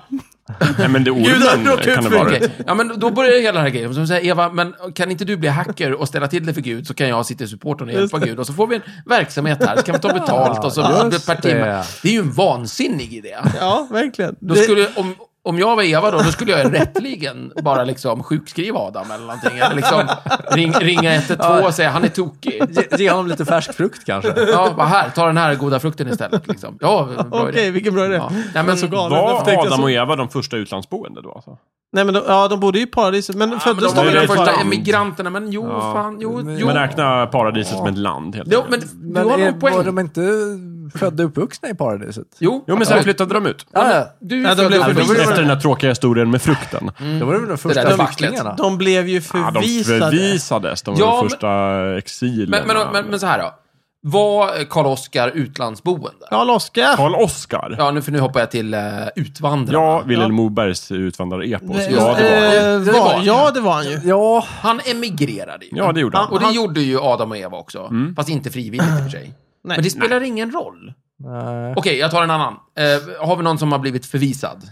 [SPEAKER 4] Nej, men det
[SPEAKER 1] Gud, jag
[SPEAKER 4] ormen
[SPEAKER 1] råkade
[SPEAKER 4] kan det
[SPEAKER 1] ut för-
[SPEAKER 4] vara.
[SPEAKER 2] Okej. Ja, men då börjar hela den här grejen. Som säger, Eva, men kan inte du bli hacker och ställa till det för Gud så kan jag sitta i supporten och hjälpa Gud och så får vi en verksamhet här, så kan vi ta betalt och så
[SPEAKER 3] Ja,
[SPEAKER 2] blir det per
[SPEAKER 3] just
[SPEAKER 2] timme.
[SPEAKER 3] det.
[SPEAKER 2] Det är ju en vansinnig idé.
[SPEAKER 1] Ja, verkligen.
[SPEAKER 2] Då skulle, om, om jag var Eva då, då skulle jag rättligen bara liksom sjukskriva Adam eller någonting. Eller liksom ring, ringa 112 och säga han är tokig.
[SPEAKER 3] Ge, ge honom lite färsk frukt kanske.
[SPEAKER 2] Ja, vad här, ta den här goda frukten istället. Liksom. Ja, bra
[SPEAKER 1] Okej,
[SPEAKER 2] idé.
[SPEAKER 1] vilken bra idé.
[SPEAKER 2] Ja. Nej, men-
[SPEAKER 1] men, så galen. Varför
[SPEAKER 4] Var
[SPEAKER 1] tänkte jag
[SPEAKER 4] Adam
[SPEAKER 1] så?
[SPEAKER 4] och Eva de första utlandsboende då? Alltså?
[SPEAKER 1] Nej, men de, ja, de bodde ju i paradiset, men
[SPEAKER 2] Ja, men
[SPEAKER 1] föddes
[SPEAKER 2] de var ju
[SPEAKER 4] Det är
[SPEAKER 2] de
[SPEAKER 1] i
[SPEAKER 2] första
[SPEAKER 1] paradiset?
[SPEAKER 2] emigranterna, men jo, fan, jo, jo.
[SPEAKER 4] Man räknar paradiset som ett land helt
[SPEAKER 2] Jo,
[SPEAKER 4] enkelt.
[SPEAKER 2] men
[SPEAKER 3] Men
[SPEAKER 2] [laughs] du har
[SPEAKER 3] är,
[SPEAKER 2] nog
[SPEAKER 3] var
[SPEAKER 2] poäng.
[SPEAKER 3] de inte födda och uppvuxna i paradiset?
[SPEAKER 2] Jo,
[SPEAKER 4] Jo, men sen
[SPEAKER 2] absolut.
[SPEAKER 4] flyttade de ut.
[SPEAKER 3] Ja, ja.
[SPEAKER 2] Du
[SPEAKER 1] Ja, de blev
[SPEAKER 2] föddes-
[SPEAKER 1] förvisade.
[SPEAKER 4] Efter den här tråkiga historien med frukten.
[SPEAKER 2] Mm.
[SPEAKER 3] Då var det väl de
[SPEAKER 2] där
[SPEAKER 3] första
[SPEAKER 2] vacklet.
[SPEAKER 3] flyktingarna?
[SPEAKER 1] De blev ju
[SPEAKER 4] Ja, de
[SPEAKER 1] förvisade.
[SPEAKER 4] förvisades. De var
[SPEAKER 2] Ja,
[SPEAKER 4] de
[SPEAKER 2] men-
[SPEAKER 4] första exilerna.
[SPEAKER 2] men, men, men, men så här då. Var Karl Oskar utlandsboende? Ja.
[SPEAKER 1] Karl Oskar.
[SPEAKER 4] Karl Oskar. Ja,
[SPEAKER 2] nu, för nu hoppar jag till eh, utvandrarna.
[SPEAKER 4] Vilhelm Mobergs utvandrarepos. Ja,
[SPEAKER 1] Nej,
[SPEAKER 4] det var det.
[SPEAKER 1] eh,
[SPEAKER 2] Det var han.
[SPEAKER 1] Ja, det var han ju.
[SPEAKER 3] Ja,
[SPEAKER 2] Han emigrerade ju.
[SPEAKER 4] Ja, det gjorde han.
[SPEAKER 2] Och det
[SPEAKER 1] Han- Mm.
[SPEAKER 2] gjorde ju Adam och Eva också. Fast inte frivilligt i och för sig.
[SPEAKER 1] Nej.
[SPEAKER 2] Men det spelar ingen roll.
[SPEAKER 3] nej.
[SPEAKER 2] Okej, jag tar en annan. Eh, har vi någon som har blivit förvisad?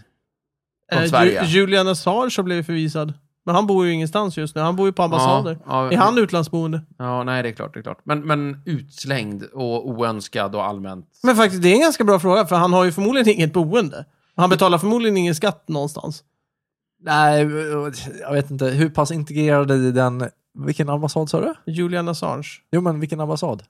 [SPEAKER 2] Från
[SPEAKER 1] Eh, Ju-
[SPEAKER 2] Sverige?
[SPEAKER 1] Julian Assange har blivit förvisad. Men han bor ju ingenstans just nu. Han bor ju på ambassader.
[SPEAKER 2] ja.
[SPEAKER 1] är han utlandsboende?
[SPEAKER 2] Ja, nej, det är klart. Det är klart. Men, men utslängd och oönskad och allmänt.
[SPEAKER 1] Men faktiskt, det är en ganska bra fråga, för han har ju förmodligen inget boende. Han betalar förmodligen ingen skatt någonstans.
[SPEAKER 3] nej, eh, jag vet inte. Hur pass integrerade i den... Vilken ambassad sa du?
[SPEAKER 1] Julian Assange.
[SPEAKER 3] Jo, men vilken ambassad?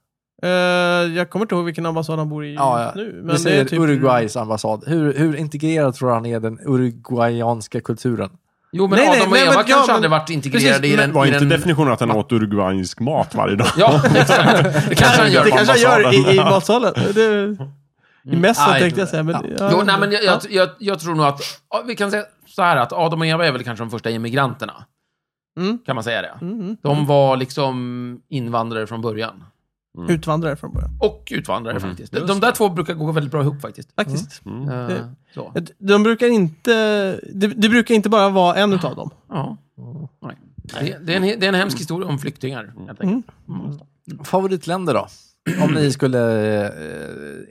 [SPEAKER 1] Eh, jag kommer inte ihåg vilken ambassad han bor i
[SPEAKER 3] Ja,
[SPEAKER 1] just
[SPEAKER 3] ja.
[SPEAKER 1] nu.
[SPEAKER 3] Vi
[SPEAKER 1] det
[SPEAKER 3] säger
[SPEAKER 1] är typ- [laughs]
[SPEAKER 3] Uruguays ambassad. Hur, hur integrerad tror han är den uruguayanska kulturen?
[SPEAKER 2] Jo, men
[SPEAKER 1] Nej, nej,
[SPEAKER 2] Adam och
[SPEAKER 1] nej,
[SPEAKER 2] Eva
[SPEAKER 1] men- ja,
[SPEAKER 2] kanske
[SPEAKER 1] men-
[SPEAKER 2] hade varit integrerade
[SPEAKER 1] Precis,
[SPEAKER 2] i
[SPEAKER 1] men
[SPEAKER 2] den...
[SPEAKER 4] Var
[SPEAKER 2] i
[SPEAKER 4] inte
[SPEAKER 2] den...
[SPEAKER 4] definitionen att han åt uruguayansk mat varje dag?
[SPEAKER 2] Ja, [laughs] exakt. Det kanske han gör.
[SPEAKER 1] [laughs] Det kanske han gör
[SPEAKER 4] ambassaden.
[SPEAKER 1] i, i matsalen. Det, I mässan
[SPEAKER 2] Aj,
[SPEAKER 1] tänkte jag säga, men... Mm. Ja.
[SPEAKER 2] Jo, nej, men jag, jag, jag, jag tror nog att... ja, Vi kan säga så här att Adam och Eva är väl kanske de första immigranterna.
[SPEAKER 1] Mm.
[SPEAKER 2] Kan man säga det?
[SPEAKER 1] Mm, mm.
[SPEAKER 2] De var liksom invandrare från början.
[SPEAKER 1] Mm. Utvandrare från början.
[SPEAKER 2] Och utvandrare faktiskt. De, de där två brukar gå väldigt bra ihop faktiskt.
[SPEAKER 1] Faktiskt.
[SPEAKER 2] Eh,
[SPEAKER 1] Det-
[SPEAKER 2] så.
[SPEAKER 1] De brukar inte... Det, det brukar inte bara vara en utav dem.
[SPEAKER 2] Ja. Nej. Mm. Det, det, är en, he- det är en hemsk historia om flyktingar, helt enkelt.
[SPEAKER 3] Favoritländer då? Om ni skulle eh,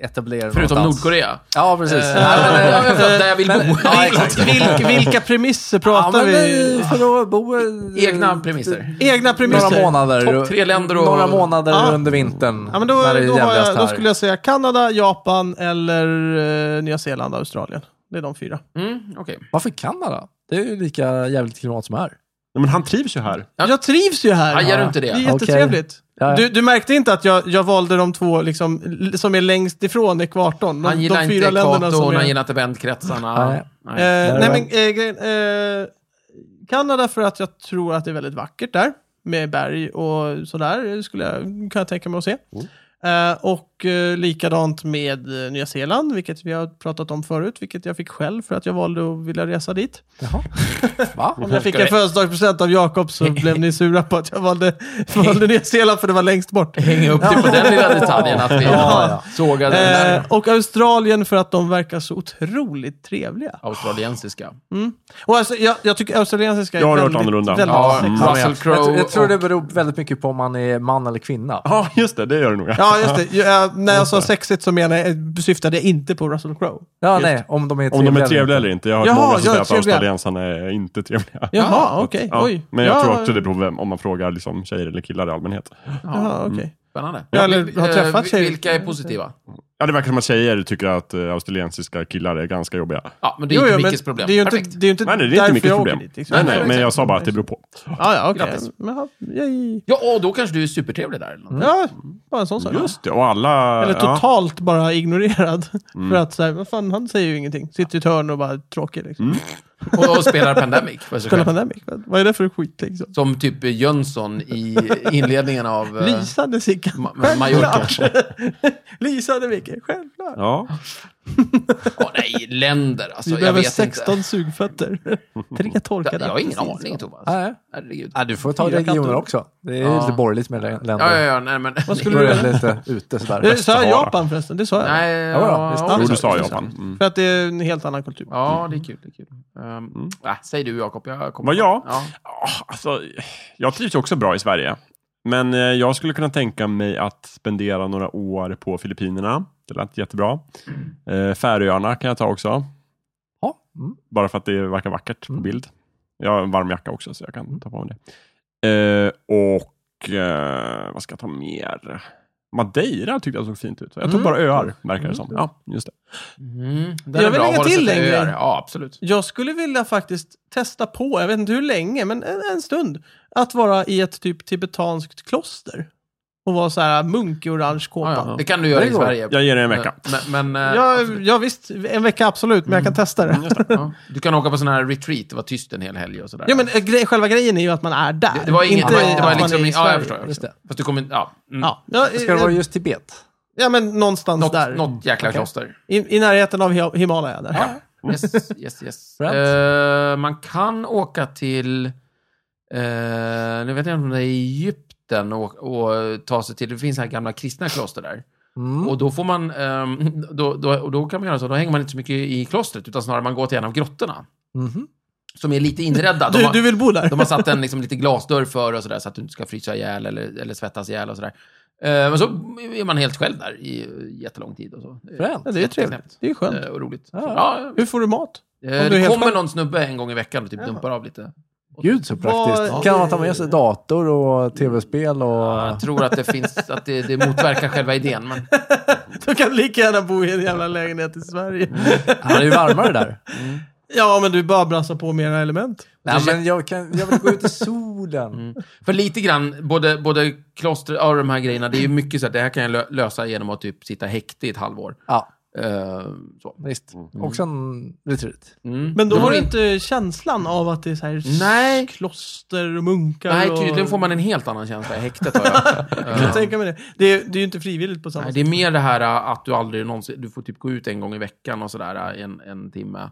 [SPEAKER 3] etablera
[SPEAKER 2] Förutom
[SPEAKER 3] någonstans.
[SPEAKER 2] Nordkorea.
[SPEAKER 3] Ja, precis.
[SPEAKER 2] Eh,
[SPEAKER 3] Nej, men,
[SPEAKER 1] [laughs]
[SPEAKER 3] eh,
[SPEAKER 2] ja, jag fattar, [laughs] där jag vill bo.
[SPEAKER 3] Ja,
[SPEAKER 2] [laughs]
[SPEAKER 3] exakt.
[SPEAKER 1] Vilk, vilka premisser
[SPEAKER 3] Ja,
[SPEAKER 1] pratar
[SPEAKER 3] men
[SPEAKER 1] vi?
[SPEAKER 3] eh, för att bo... eh,
[SPEAKER 2] Egna premisser.
[SPEAKER 1] Egna
[SPEAKER 3] Några
[SPEAKER 1] premisser.
[SPEAKER 3] månader.
[SPEAKER 2] Topp tre länder och-
[SPEAKER 3] Några månader
[SPEAKER 1] Ja.
[SPEAKER 3] under vintern.
[SPEAKER 1] Ah. Ja, men då,
[SPEAKER 3] när det är
[SPEAKER 1] då, har
[SPEAKER 3] jävligast
[SPEAKER 1] jag, då
[SPEAKER 3] här.
[SPEAKER 1] skulle jag säga Kanada, Japan eller eh, Nya Zeeland, Australien. Det är de fyra.
[SPEAKER 2] Mm, okej.
[SPEAKER 3] Varför Kanada? Det är ju lika jävligt klimat som här.
[SPEAKER 4] [laughs] Nej, men han trivs ju här.
[SPEAKER 2] Ja.
[SPEAKER 1] Jag trivs ju här.
[SPEAKER 2] Hajar du inte
[SPEAKER 1] Det är
[SPEAKER 2] det?
[SPEAKER 3] Okej.
[SPEAKER 1] jättetrevligt.
[SPEAKER 3] Ja, ja.
[SPEAKER 1] Du, du märkte inte att jag, jag valde de två liksom, l- som är längst ifrån ekvatorn? De,
[SPEAKER 2] Han gillar
[SPEAKER 1] de
[SPEAKER 2] inte
[SPEAKER 1] fyra länderna som
[SPEAKER 2] ekvatorn,
[SPEAKER 1] är...
[SPEAKER 2] han gillar inte vändkretsarna.
[SPEAKER 3] Nej.
[SPEAKER 2] Nej.
[SPEAKER 1] Eh, nej,
[SPEAKER 3] Nej,
[SPEAKER 1] men, eh, grejen, eh, Kanada för att jag tror att det är väldigt vackert där. Med berg och sådär eh, skulle jag, kan jag tänka mig att se.
[SPEAKER 4] Mm.
[SPEAKER 1] Eh, och eh, likadant med eh, Nya Zeeland, vilket vi har pratat om förut, vilket jag fick själv för att jag valde att vilja resa dit.
[SPEAKER 3] [laughs] Jaha. Va?
[SPEAKER 1] Om jag fick
[SPEAKER 2] Ska
[SPEAKER 1] en
[SPEAKER 2] vi-
[SPEAKER 1] födelsedagspresent av
[SPEAKER 2] [laughs]
[SPEAKER 1] Jakob så blev ni sura på att jag valde, [laughs] valde Nya Zeeland för det var längst bort.
[SPEAKER 2] Hänga upp det på den lilla detaljen att vi
[SPEAKER 3] Ja, ja.
[SPEAKER 2] sågade den
[SPEAKER 1] Eh,
[SPEAKER 2] där
[SPEAKER 1] och Australien för att de verkar så otroligt trevliga.
[SPEAKER 2] australiensiska.
[SPEAKER 1] Och alltså, jag, jag tycker australiensiska är
[SPEAKER 4] Jag har hört
[SPEAKER 1] väldigt,
[SPEAKER 4] annorlunda.
[SPEAKER 1] väldigt
[SPEAKER 2] Ja, mm.
[SPEAKER 1] sexigt.
[SPEAKER 3] Ja, men
[SPEAKER 2] Russell
[SPEAKER 3] jag- jag,
[SPEAKER 2] Crowe
[SPEAKER 3] tr- jag tror det
[SPEAKER 2] och-
[SPEAKER 3] beror väldigt mycket på om man är man eller kvinna.
[SPEAKER 4] Ja, just det. Det gör det nog.
[SPEAKER 1] Ja, just det. Ja, när jag sa sexigt så menar jag, eh, syftade jag inte på Russell Crowe.
[SPEAKER 3] Ja, nej, om de är
[SPEAKER 4] [laughs] Om
[SPEAKER 3] trevliga.
[SPEAKER 4] de är trevliga eller inte. Jag har hört
[SPEAKER 1] Jaha,
[SPEAKER 4] många som
[SPEAKER 1] ja,
[SPEAKER 4] säger att
[SPEAKER 1] trevliga.
[SPEAKER 4] australiensarna är inte trevliga.
[SPEAKER 1] Jaha,
[SPEAKER 2] Ja,
[SPEAKER 1] okej.
[SPEAKER 4] Ja,
[SPEAKER 1] Oj.
[SPEAKER 4] Men jag
[SPEAKER 1] ja,
[SPEAKER 4] tror också det beror på vem, om man frågar liksom tjejer eller killar i allmänhet.
[SPEAKER 1] Jaha,
[SPEAKER 2] Mm.
[SPEAKER 1] okej.
[SPEAKER 2] Spännande.
[SPEAKER 1] Ja, eller har
[SPEAKER 2] Eh,
[SPEAKER 1] träffat
[SPEAKER 2] vi-
[SPEAKER 1] sig.
[SPEAKER 2] Vilka är positiva?
[SPEAKER 4] Ja, det verkar som att tjejer tycker att eh, australiensiska killar är ganska jobbiga.
[SPEAKER 2] Ja, men det är
[SPEAKER 1] Jo,
[SPEAKER 2] inte
[SPEAKER 1] jo, men
[SPEAKER 2] Mickes problem.
[SPEAKER 1] Det är ju
[SPEAKER 2] Perfekt.
[SPEAKER 1] inte, det är ju inte
[SPEAKER 4] Nej, nej, det är
[SPEAKER 1] därför
[SPEAKER 4] inte mycket
[SPEAKER 1] jag åker
[SPEAKER 4] problem.
[SPEAKER 1] Dit, liksom.
[SPEAKER 4] Nej, nej, men jag sa bara att det beror på.
[SPEAKER 1] Ja, ja, okej.
[SPEAKER 2] Grattis. Mm.
[SPEAKER 1] Men ja, yay.
[SPEAKER 2] Ja, och då kanske du är supertrevlig där. Eller något.
[SPEAKER 1] Ja, bara en sån sak.
[SPEAKER 4] Just det, och alla...
[SPEAKER 1] Eller
[SPEAKER 4] ja. Mm.
[SPEAKER 1] totalt bara ignorerad. [laughs] För att så här, vad fan, han säger ju ingenting. Sitter i ett hörn och bara är tråkig liksom.
[SPEAKER 4] Mm.
[SPEAKER 2] Och, och spelar Pandemic för sig
[SPEAKER 1] Kolla
[SPEAKER 2] själv.
[SPEAKER 1] Pandemic. Vad vad är det för skit liksom?
[SPEAKER 2] Som typ Jönsson i inledningen av... eh,
[SPEAKER 1] Lysande Sickan.
[SPEAKER 2] Ma- Ma- Mallorca.
[SPEAKER 1] [laughs] Lysande Micke, självklart.
[SPEAKER 4] Ja.
[SPEAKER 2] Ja, nej, länder alltså.
[SPEAKER 1] Vi
[SPEAKER 2] jag
[SPEAKER 1] behöver
[SPEAKER 2] vet
[SPEAKER 1] 16
[SPEAKER 2] inte.
[SPEAKER 1] sugfötter. [laughs] Tre torkade
[SPEAKER 2] Jag har ingen
[SPEAKER 1] apelsiner.
[SPEAKER 2] aning, Thomas.
[SPEAKER 3] Nej.
[SPEAKER 2] Herregud.
[SPEAKER 3] Ja, du får ta
[SPEAKER 1] Fyra
[SPEAKER 3] regioner
[SPEAKER 1] katter.
[SPEAKER 3] också. Det är
[SPEAKER 2] Ja.
[SPEAKER 3] lite borgerligt med lä- länder.
[SPEAKER 2] Ja, ja, ja, nej men...
[SPEAKER 1] Vad
[SPEAKER 3] Då
[SPEAKER 1] skulle
[SPEAKER 3] är
[SPEAKER 1] du
[SPEAKER 3] det
[SPEAKER 1] välja?
[SPEAKER 3] lite ute sådär.
[SPEAKER 1] Det sa jag
[SPEAKER 4] Västerhavet.
[SPEAKER 1] Japan förresten? Det sa jag.
[SPEAKER 2] Nej,
[SPEAKER 3] ja, visst.
[SPEAKER 4] Jo,
[SPEAKER 1] men-
[SPEAKER 4] du sa Japan. Mm.
[SPEAKER 1] För att det är en helt annan kultur.
[SPEAKER 2] Ja, det är kul. Det är kul. Ehm, ah, säg du, Jakob. Jag kommer
[SPEAKER 4] Mm. Vad
[SPEAKER 2] på-
[SPEAKER 4] jag?
[SPEAKER 2] Ja.
[SPEAKER 4] Ah, Alltså, jag trivs ju också bra i Sverige. Men eh, jag skulle kunna tänka mig att spendera några år på Filippinerna. Det lät jättebra. Eh, Färöarna kan jag ta också.
[SPEAKER 3] Ja. Mm.
[SPEAKER 4] Bara för att det verkar vackert på
[SPEAKER 3] Mm.
[SPEAKER 4] bild. Jag har en varm jacka också, så jag kan ta på mig det. Eh, och eh, vad ska jag ta mer? Madeira tyckte jag såg fint ut. Jag tog
[SPEAKER 3] Mm.
[SPEAKER 4] bara öar, verkar det som. Ja, just det.
[SPEAKER 2] Mm, den
[SPEAKER 1] Jag
[SPEAKER 2] är
[SPEAKER 1] vill
[SPEAKER 2] bra.
[SPEAKER 1] lägga
[SPEAKER 2] Har du
[SPEAKER 1] till
[SPEAKER 2] sett
[SPEAKER 1] en
[SPEAKER 2] öar?
[SPEAKER 1] grej.
[SPEAKER 2] Ja, absolut.
[SPEAKER 1] Jag skulle vilja faktiskt testa på, jag vet inte hur länge, men en, en stund, att vara i ett typ tibetanskt kloster. Och vara så här munk i orange kåpa.
[SPEAKER 2] Ja, ja. Det kan du göra
[SPEAKER 3] Det
[SPEAKER 2] i
[SPEAKER 3] går.
[SPEAKER 2] Sverige.
[SPEAKER 4] Jag ger dig en vecka.
[SPEAKER 2] Men, men, eh,
[SPEAKER 1] Ja,
[SPEAKER 2] absolut.
[SPEAKER 1] ja visst, en vecka absolut, men jag kan
[SPEAKER 2] Mm.
[SPEAKER 1] testa det.
[SPEAKER 2] Ja. Du kan åka på sån här retreat och vara tyst en hel helg och sådär.
[SPEAKER 1] [laughs] Ja, men eh, grej, själva grejen är ju att man är där.
[SPEAKER 2] det, det var inget...
[SPEAKER 1] inte
[SPEAKER 2] det var- det
[SPEAKER 1] att
[SPEAKER 2] var
[SPEAKER 1] man
[SPEAKER 2] liksom...
[SPEAKER 1] är i
[SPEAKER 2] Ja, jag
[SPEAKER 1] Sverige.
[SPEAKER 2] förstår. Jag
[SPEAKER 3] Just
[SPEAKER 2] förstår.
[SPEAKER 3] det.
[SPEAKER 2] Fast du kommer inte... Ja. Mm.
[SPEAKER 1] Ja, ja,
[SPEAKER 3] Ska det
[SPEAKER 1] eh,
[SPEAKER 3] vara just Tibet?
[SPEAKER 1] ja, men någonstans
[SPEAKER 2] Något,
[SPEAKER 1] där.
[SPEAKER 2] något jäkla kloster.
[SPEAKER 1] I, I närheten av Hi- Himalaya där.
[SPEAKER 2] Yes, yes, yes.
[SPEAKER 3] Brant.
[SPEAKER 2] Eh, man kan åka till... eh, nu vet jag inte om det är Egypten och, och ta sig till... Det finns så här gamla kristna kloster där.
[SPEAKER 3] Mm.
[SPEAKER 2] Och då får man... ehm, [laughs] då, då, och då kan man göra så. Då hänger man inte så mycket i klostret, utan snarare man går till en av grottorna.
[SPEAKER 3] Mhm.
[SPEAKER 2] Som är lite inredda. De
[SPEAKER 1] Du,
[SPEAKER 2] har-
[SPEAKER 1] du vill bo där?
[SPEAKER 2] De har satt en liksom, lite glasdörr för och sådär, så att du inte ska frysa ihjäl eller, eller svettas ihjäl och sådär. Eh, Men så är man helt själv där i eh, jättelång tid och så. Eh,
[SPEAKER 3] Fränt.
[SPEAKER 1] Ja, det är ju trevligt.
[SPEAKER 2] jätteknäppt.
[SPEAKER 1] Det är ju skönt.
[SPEAKER 2] eh, Och roligt.
[SPEAKER 3] Ja.
[SPEAKER 2] Så, ja,
[SPEAKER 1] Hur får du mat?
[SPEAKER 2] eh,
[SPEAKER 1] du är
[SPEAKER 2] det
[SPEAKER 1] helt
[SPEAKER 2] kommer
[SPEAKER 1] själv.
[SPEAKER 2] någon snubbe en gång i veckan och typ dumpar av lite.
[SPEAKER 3] Gud så praktiskt.
[SPEAKER 1] Vad-
[SPEAKER 3] Kan man ta med sig dator och tv-spel och...
[SPEAKER 2] Jag tror att det finns, att det, det motverkar själva idén.
[SPEAKER 1] [laughs]
[SPEAKER 2] Men,
[SPEAKER 1] Du kan lika gärna bo i en jävla lägenhet i Sverige.
[SPEAKER 3] Ja, det är ju varmare där.
[SPEAKER 1] Ja, men du bara brassar på mera element.
[SPEAKER 3] Nej, men jag, kan, jag vill gå ut i solen.
[SPEAKER 2] för lite grann, både, både kloster och de här grejerna, det är ju mycket så att det här kan jag lö- lösa genom att typ sitta häkte i ett halvår.
[SPEAKER 3] Ja.
[SPEAKER 2] Eh, så.
[SPEAKER 3] Visst. Också en retreat.
[SPEAKER 2] Mm.
[SPEAKER 1] Men då
[SPEAKER 2] De
[SPEAKER 1] har du
[SPEAKER 2] in-
[SPEAKER 1] inte känslan av att det är så här
[SPEAKER 2] Nej.
[SPEAKER 1] kloster och munkar
[SPEAKER 2] Nej,
[SPEAKER 1] och...
[SPEAKER 2] tydligen får man en helt annan känsla i häktet. har jag.
[SPEAKER 1] [laughs] Jag kan
[SPEAKER 2] Eh,
[SPEAKER 1] tänka mig det. Det är, det är ju inte frivilligt på samma
[SPEAKER 2] Nej,
[SPEAKER 1] sätt.
[SPEAKER 2] det är mer det här äh, att du aldrig någonsin... Du får typ gå ut en gång i veckan och sådär, äh, en, en timme.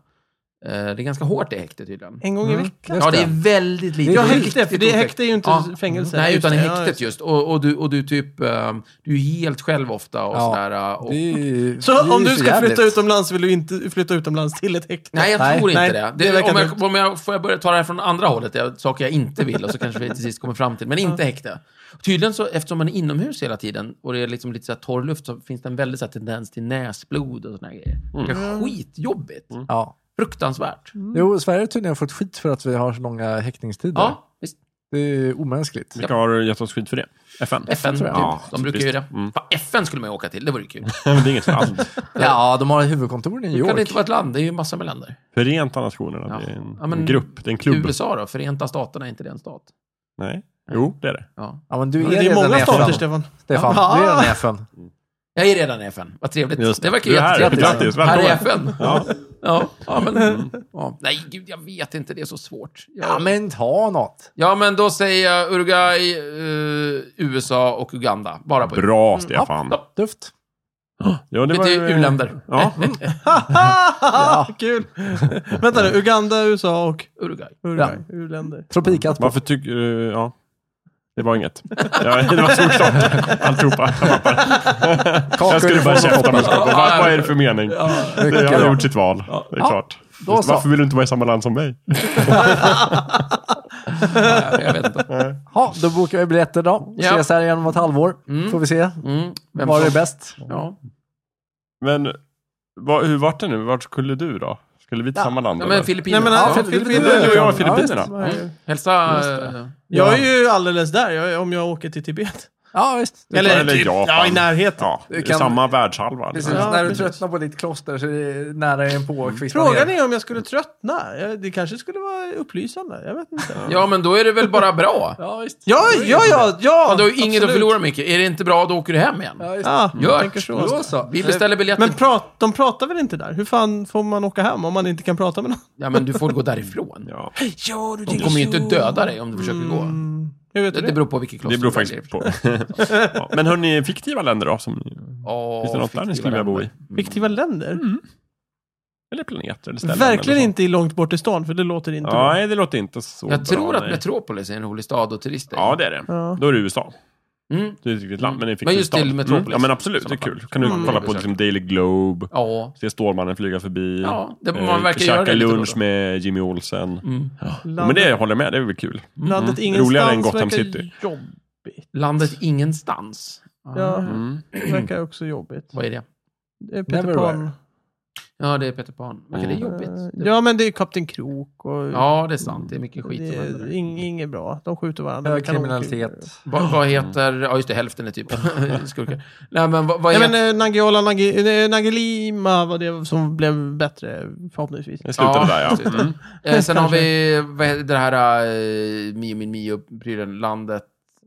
[SPEAKER 2] Eh, Det är ganska hårt i häktet tydligen.
[SPEAKER 1] En gång i
[SPEAKER 3] Mm.
[SPEAKER 1] veckan.
[SPEAKER 3] Just
[SPEAKER 2] Ja, det är väldigt lite.
[SPEAKER 1] Ja,
[SPEAKER 3] det är
[SPEAKER 1] häkte. För det
[SPEAKER 2] otäckt.
[SPEAKER 1] häkte är ju inte
[SPEAKER 2] Ja.
[SPEAKER 1] fängelse.
[SPEAKER 2] Nej,
[SPEAKER 1] Just
[SPEAKER 2] utan i
[SPEAKER 1] det, ja,
[SPEAKER 2] häktet
[SPEAKER 1] just det.
[SPEAKER 2] just. Och, och, du, och du typ... eh, Du är helt själv ofta och
[SPEAKER 3] Ja.
[SPEAKER 2] sådär. eh, Och,
[SPEAKER 3] Det är ju- det är ju
[SPEAKER 1] Så om du
[SPEAKER 3] för
[SPEAKER 1] ska
[SPEAKER 3] jävligt.
[SPEAKER 1] flytta utomlands vill du inte flytta utomlands till ett häkte?
[SPEAKER 2] Nej, jag
[SPEAKER 3] Nej,
[SPEAKER 2] tror inte
[SPEAKER 1] nej,
[SPEAKER 2] det.
[SPEAKER 1] det
[SPEAKER 2] det,
[SPEAKER 1] verkar
[SPEAKER 2] om jag,
[SPEAKER 1] dumt.
[SPEAKER 2] om jag, får jag börja ta det här från andra hållet, det, saker jag inte vill, och så kanske vi till sist kommer fram till. Men inte häkte. Tydligen, så, eftersom man är inomhus hela tiden och det är liksom lite så här torr luft, så finns det en väldigt så här tendens till näsblod och såna här grejer.
[SPEAKER 4] Mm.
[SPEAKER 2] Det är skitjobbigt.
[SPEAKER 3] Ja.
[SPEAKER 2] Fruktansvärt.
[SPEAKER 3] Jo, Sverige har tydligen fått skit för att vi har så långa häktningstider.
[SPEAKER 2] Ja, visst.
[SPEAKER 3] Det är omänskligt.
[SPEAKER 4] Vilka har eh, gett oss skit för det? FN?
[SPEAKER 2] FN,
[SPEAKER 3] tror jag.
[SPEAKER 2] typ.
[SPEAKER 4] Ja,
[SPEAKER 2] de brukar ju
[SPEAKER 4] visst.
[SPEAKER 2] det. Fan, FN skulle man ju åka till, det vore ju kul.
[SPEAKER 4] Nej, [laughs] men det är inget för allt.
[SPEAKER 3] Ja, de har huvudkontoren i New
[SPEAKER 2] Det kan
[SPEAKER 3] York.
[SPEAKER 2] inte vara ett land, det är ju massor med länder.
[SPEAKER 4] Förenta Nationerna, det är
[SPEAKER 2] Ja.
[SPEAKER 4] en,
[SPEAKER 2] Ja, men-
[SPEAKER 4] en grupp, det är en klubb.
[SPEAKER 2] USA då? Förenta Staterna, är inte det en stat?
[SPEAKER 4] Nej. Jo, det är det.
[SPEAKER 2] Ja.
[SPEAKER 3] Ja, men du är,
[SPEAKER 1] Det är
[SPEAKER 3] redan
[SPEAKER 1] många
[SPEAKER 3] FN.
[SPEAKER 1] stater, Stefan.
[SPEAKER 3] Stefan,
[SPEAKER 1] Ja.
[SPEAKER 3] du är redan FN.
[SPEAKER 2] Jag är redan i FN, vad trevligt.
[SPEAKER 4] Just
[SPEAKER 2] det.
[SPEAKER 4] det.
[SPEAKER 2] verkar
[SPEAKER 4] Du är här.
[SPEAKER 2] jättetrevligt.
[SPEAKER 4] Grattis,
[SPEAKER 2] här är
[SPEAKER 4] välkommen.
[SPEAKER 2] FN.
[SPEAKER 4] Ja.
[SPEAKER 2] Ja, ja men...
[SPEAKER 4] Mm.
[SPEAKER 2] Ja. Nej, gud, jag vet inte. Det är så svårt. Jag,
[SPEAKER 3] Ja, men ta något.
[SPEAKER 2] ja, men då säger jag Uruguay, eh, USA och Uganda. Bara på
[SPEAKER 4] Bra, Stefan.
[SPEAKER 2] Ja,
[SPEAKER 3] Duft.
[SPEAKER 4] Ja,
[SPEAKER 2] Det är
[SPEAKER 4] eh,
[SPEAKER 2] u-länder.
[SPEAKER 4] Ja.
[SPEAKER 1] Kul! Vänta nu, Uganda, USA och
[SPEAKER 2] Uruguay.
[SPEAKER 1] Uruguay. U-länder.
[SPEAKER 3] Tropikat.
[SPEAKER 4] Varför tycker... eh, ja. Det var inget. Ja, [laughs] det var stort stopp. Alltihopa. Jag hoppar. Jag skulle bara käfta med stopp. Vad, vad är det för mening? Det har gjort sitt val. Det är klart.
[SPEAKER 3] Då så.
[SPEAKER 4] Varför vill du inte vara i samma land som mig?
[SPEAKER 2] Ja, jag vet inte.
[SPEAKER 3] Ja, då bokar vi biljetter då.
[SPEAKER 2] Ja.
[SPEAKER 3] Ses här igen om ett halvår. Får vi se.
[SPEAKER 2] Mm, vem
[SPEAKER 3] Var
[SPEAKER 2] som-
[SPEAKER 3] det bäst?
[SPEAKER 2] Ja.
[SPEAKER 4] Men vad, hur vart det nu? Vart skulle du då? Skulle vi till samma land?
[SPEAKER 2] Ja,
[SPEAKER 4] eller?
[SPEAKER 2] men
[SPEAKER 1] Nej,
[SPEAKER 2] Filippinerna.
[SPEAKER 1] men,
[SPEAKER 2] Ja,
[SPEAKER 1] ja,
[SPEAKER 3] eh,
[SPEAKER 2] Fil-
[SPEAKER 1] Filippinerna.
[SPEAKER 4] Du och jag i
[SPEAKER 3] Ja, visst.
[SPEAKER 4] Filippinerna.
[SPEAKER 2] Hälsa... eh,
[SPEAKER 1] Jag är ju alldeles där jag, om jag åker till Tibet.
[SPEAKER 3] Ja, visst.
[SPEAKER 1] Eller,
[SPEAKER 4] Eller
[SPEAKER 1] typ,
[SPEAKER 4] Japan.
[SPEAKER 1] ja, i närheten.
[SPEAKER 4] Ja, det är
[SPEAKER 3] kan-
[SPEAKER 4] samma världshalva. liksom.
[SPEAKER 3] Precis,
[SPEAKER 1] Ja,
[SPEAKER 3] när du
[SPEAKER 1] precis.
[SPEAKER 3] tröttnar på ditt kloster så är det nära en på att kvista
[SPEAKER 1] Frågan
[SPEAKER 3] ner.
[SPEAKER 1] är om jag skulle tröttna. Jag- Det kanske skulle vara upplysande. Jag vet inte.
[SPEAKER 2] Ja, men då är det väl bara bra?
[SPEAKER 3] Ja, visst.
[SPEAKER 1] Ja, ja, ja, ja!
[SPEAKER 2] Ja, du har ju inget att
[SPEAKER 1] absolut.
[SPEAKER 2] förlora, Micke. Är det inte bra, då åker du hem igen.
[SPEAKER 3] Ja, just.
[SPEAKER 1] Ja, jag
[SPEAKER 2] Gör.
[SPEAKER 1] tänker så.
[SPEAKER 3] Då så.
[SPEAKER 2] Vi beställer biljetter.
[SPEAKER 1] Men prat, de pratar väl inte där? Hur fan får man åka hem om man inte kan prata med någon?
[SPEAKER 2] Ja, men du får gå därifrån.
[SPEAKER 4] Ja.
[SPEAKER 2] De kommer ju inte döda dig om du försöker gå.
[SPEAKER 1] Hur Mm. vet
[SPEAKER 2] Det,
[SPEAKER 1] du
[SPEAKER 2] det
[SPEAKER 1] det?
[SPEAKER 2] beror på vilket kloster
[SPEAKER 4] Mm. Det beror
[SPEAKER 2] du väljer.
[SPEAKER 4] faktiskt på.
[SPEAKER 2] [laughs]
[SPEAKER 4] ja. Men hörni, fiktiva länder då? Som,
[SPEAKER 2] Åh,
[SPEAKER 4] finns det något där ni skulle vilja bo i?
[SPEAKER 2] Mm.
[SPEAKER 1] Fiktiva länder?
[SPEAKER 4] Eller planeter? Eller ställen,
[SPEAKER 1] Verkligen
[SPEAKER 4] eller så.
[SPEAKER 1] inte i långt bort i stan, för det låter inte
[SPEAKER 4] Ja,
[SPEAKER 1] bra.
[SPEAKER 4] nej, det låter inte så
[SPEAKER 2] Jag tror
[SPEAKER 4] bra,
[SPEAKER 2] att
[SPEAKER 4] nej.
[SPEAKER 2] Metropolis är en rolig stad och turister.
[SPEAKER 4] Ja, det är det.
[SPEAKER 1] Ja.
[SPEAKER 4] Då är det USA.
[SPEAKER 2] Mm.
[SPEAKER 4] Det är ett riktigt land, men det är en fiktiv
[SPEAKER 2] Men just
[SPEAKER 4] stad.
[SPEAKER 2] till Metropolis.
[SPEAKER 4] Mm. Ja, men absolut. Det är kul. Kan du
[SPEAKER 2] Mm.
[SPEAKER 4] kolla på liksom Daily Globe,
[SPEAKER 2] Ja.
[SPEAKER 4] se Stålmannen flyga förbi,
[SPEAKER 2] Ja, det- man
[SPEAKER 4] eh,
[SPEAKER 2] verkar göra
[SPEAKER 4] käka
[SPEAKER 2] det lite då
[SPEAKER 4] lunch
[SPEAKER 2] då.
[SPEAKER 4] med Jimmy Olsen.
[SPEAKER 2] Mm.
[SPEAKER 4] Ja, men det håller jag med, det är väl kul.
[SPEAKER 1] Landet
[SPEAKER 4] Mm.
[SPEAKER 1] ingenstans
[SPEAKER 4] Roligare än Gotham
[SPEAKER 1] verkar
[SPEAKER 4] City.
[SPEAKER 1] jobbigt.
[SPEAKER 2] Landet ingenstans.
[SPEAKER 1] Ja,
[SPEAKER 4] Mm.
[SPEAKER 1] det verkar också jobbigt.
[SPEAKER 2] Vad är det?
[SPEAKER 1] Det är Peter
[SPEAKER 3] Neverwhere.
[SPEAKER 1] Pan. Eh,
[SPEAKER 2] Ja, det är Peter Pan. Verkar det
[SPEAKER 4] Mm.
[SPEAKER 2] jobbigt? Det-
[SPEAKER 1] Ja, men det är Kapten Krok och...
[SPEAKER 2] ja, det är sant. Det är mycket skit
[SPEAKER 1] det
[SPEAKER 2] som händer.
[SPEAKER 1] är
[SPEAKER 2] där.
[SPEAKER 1] ing, inget bra. De skjuter varandra.
[SPEAKER 3] Ja,
[SPEAKER 1] med kanoner.
[SPEAKER 3] Kriminalitet.
[SPEAKER 2] Vad, vad
[SPEAKER 4] Mm.
[SPEAKER 2] heter... Ja, just det. Hälften är
[SPEAKER 4] [laughs]
[SPEAKER 2] typ [laughs] skurkar. Nej, men vad, vad
[SPEAKER 1] Nej
[SPEAKER 2] heter...
[SPEAKER 1] men eh, Nangijala, Nangi, eh, Nangilima var det som blev bättre förhoppningsvis.
[SPEAKER 4] Det slutade
[SPEAKER 2] Ja,
[SPEAKER 4] där
[SPEAKER 2] precis.
[SPEAKER 4] ja. Mm.
[SPEAKER 2] Eh, sen har vi vad heter det här eh, Mio min Mio-prylen. Landet.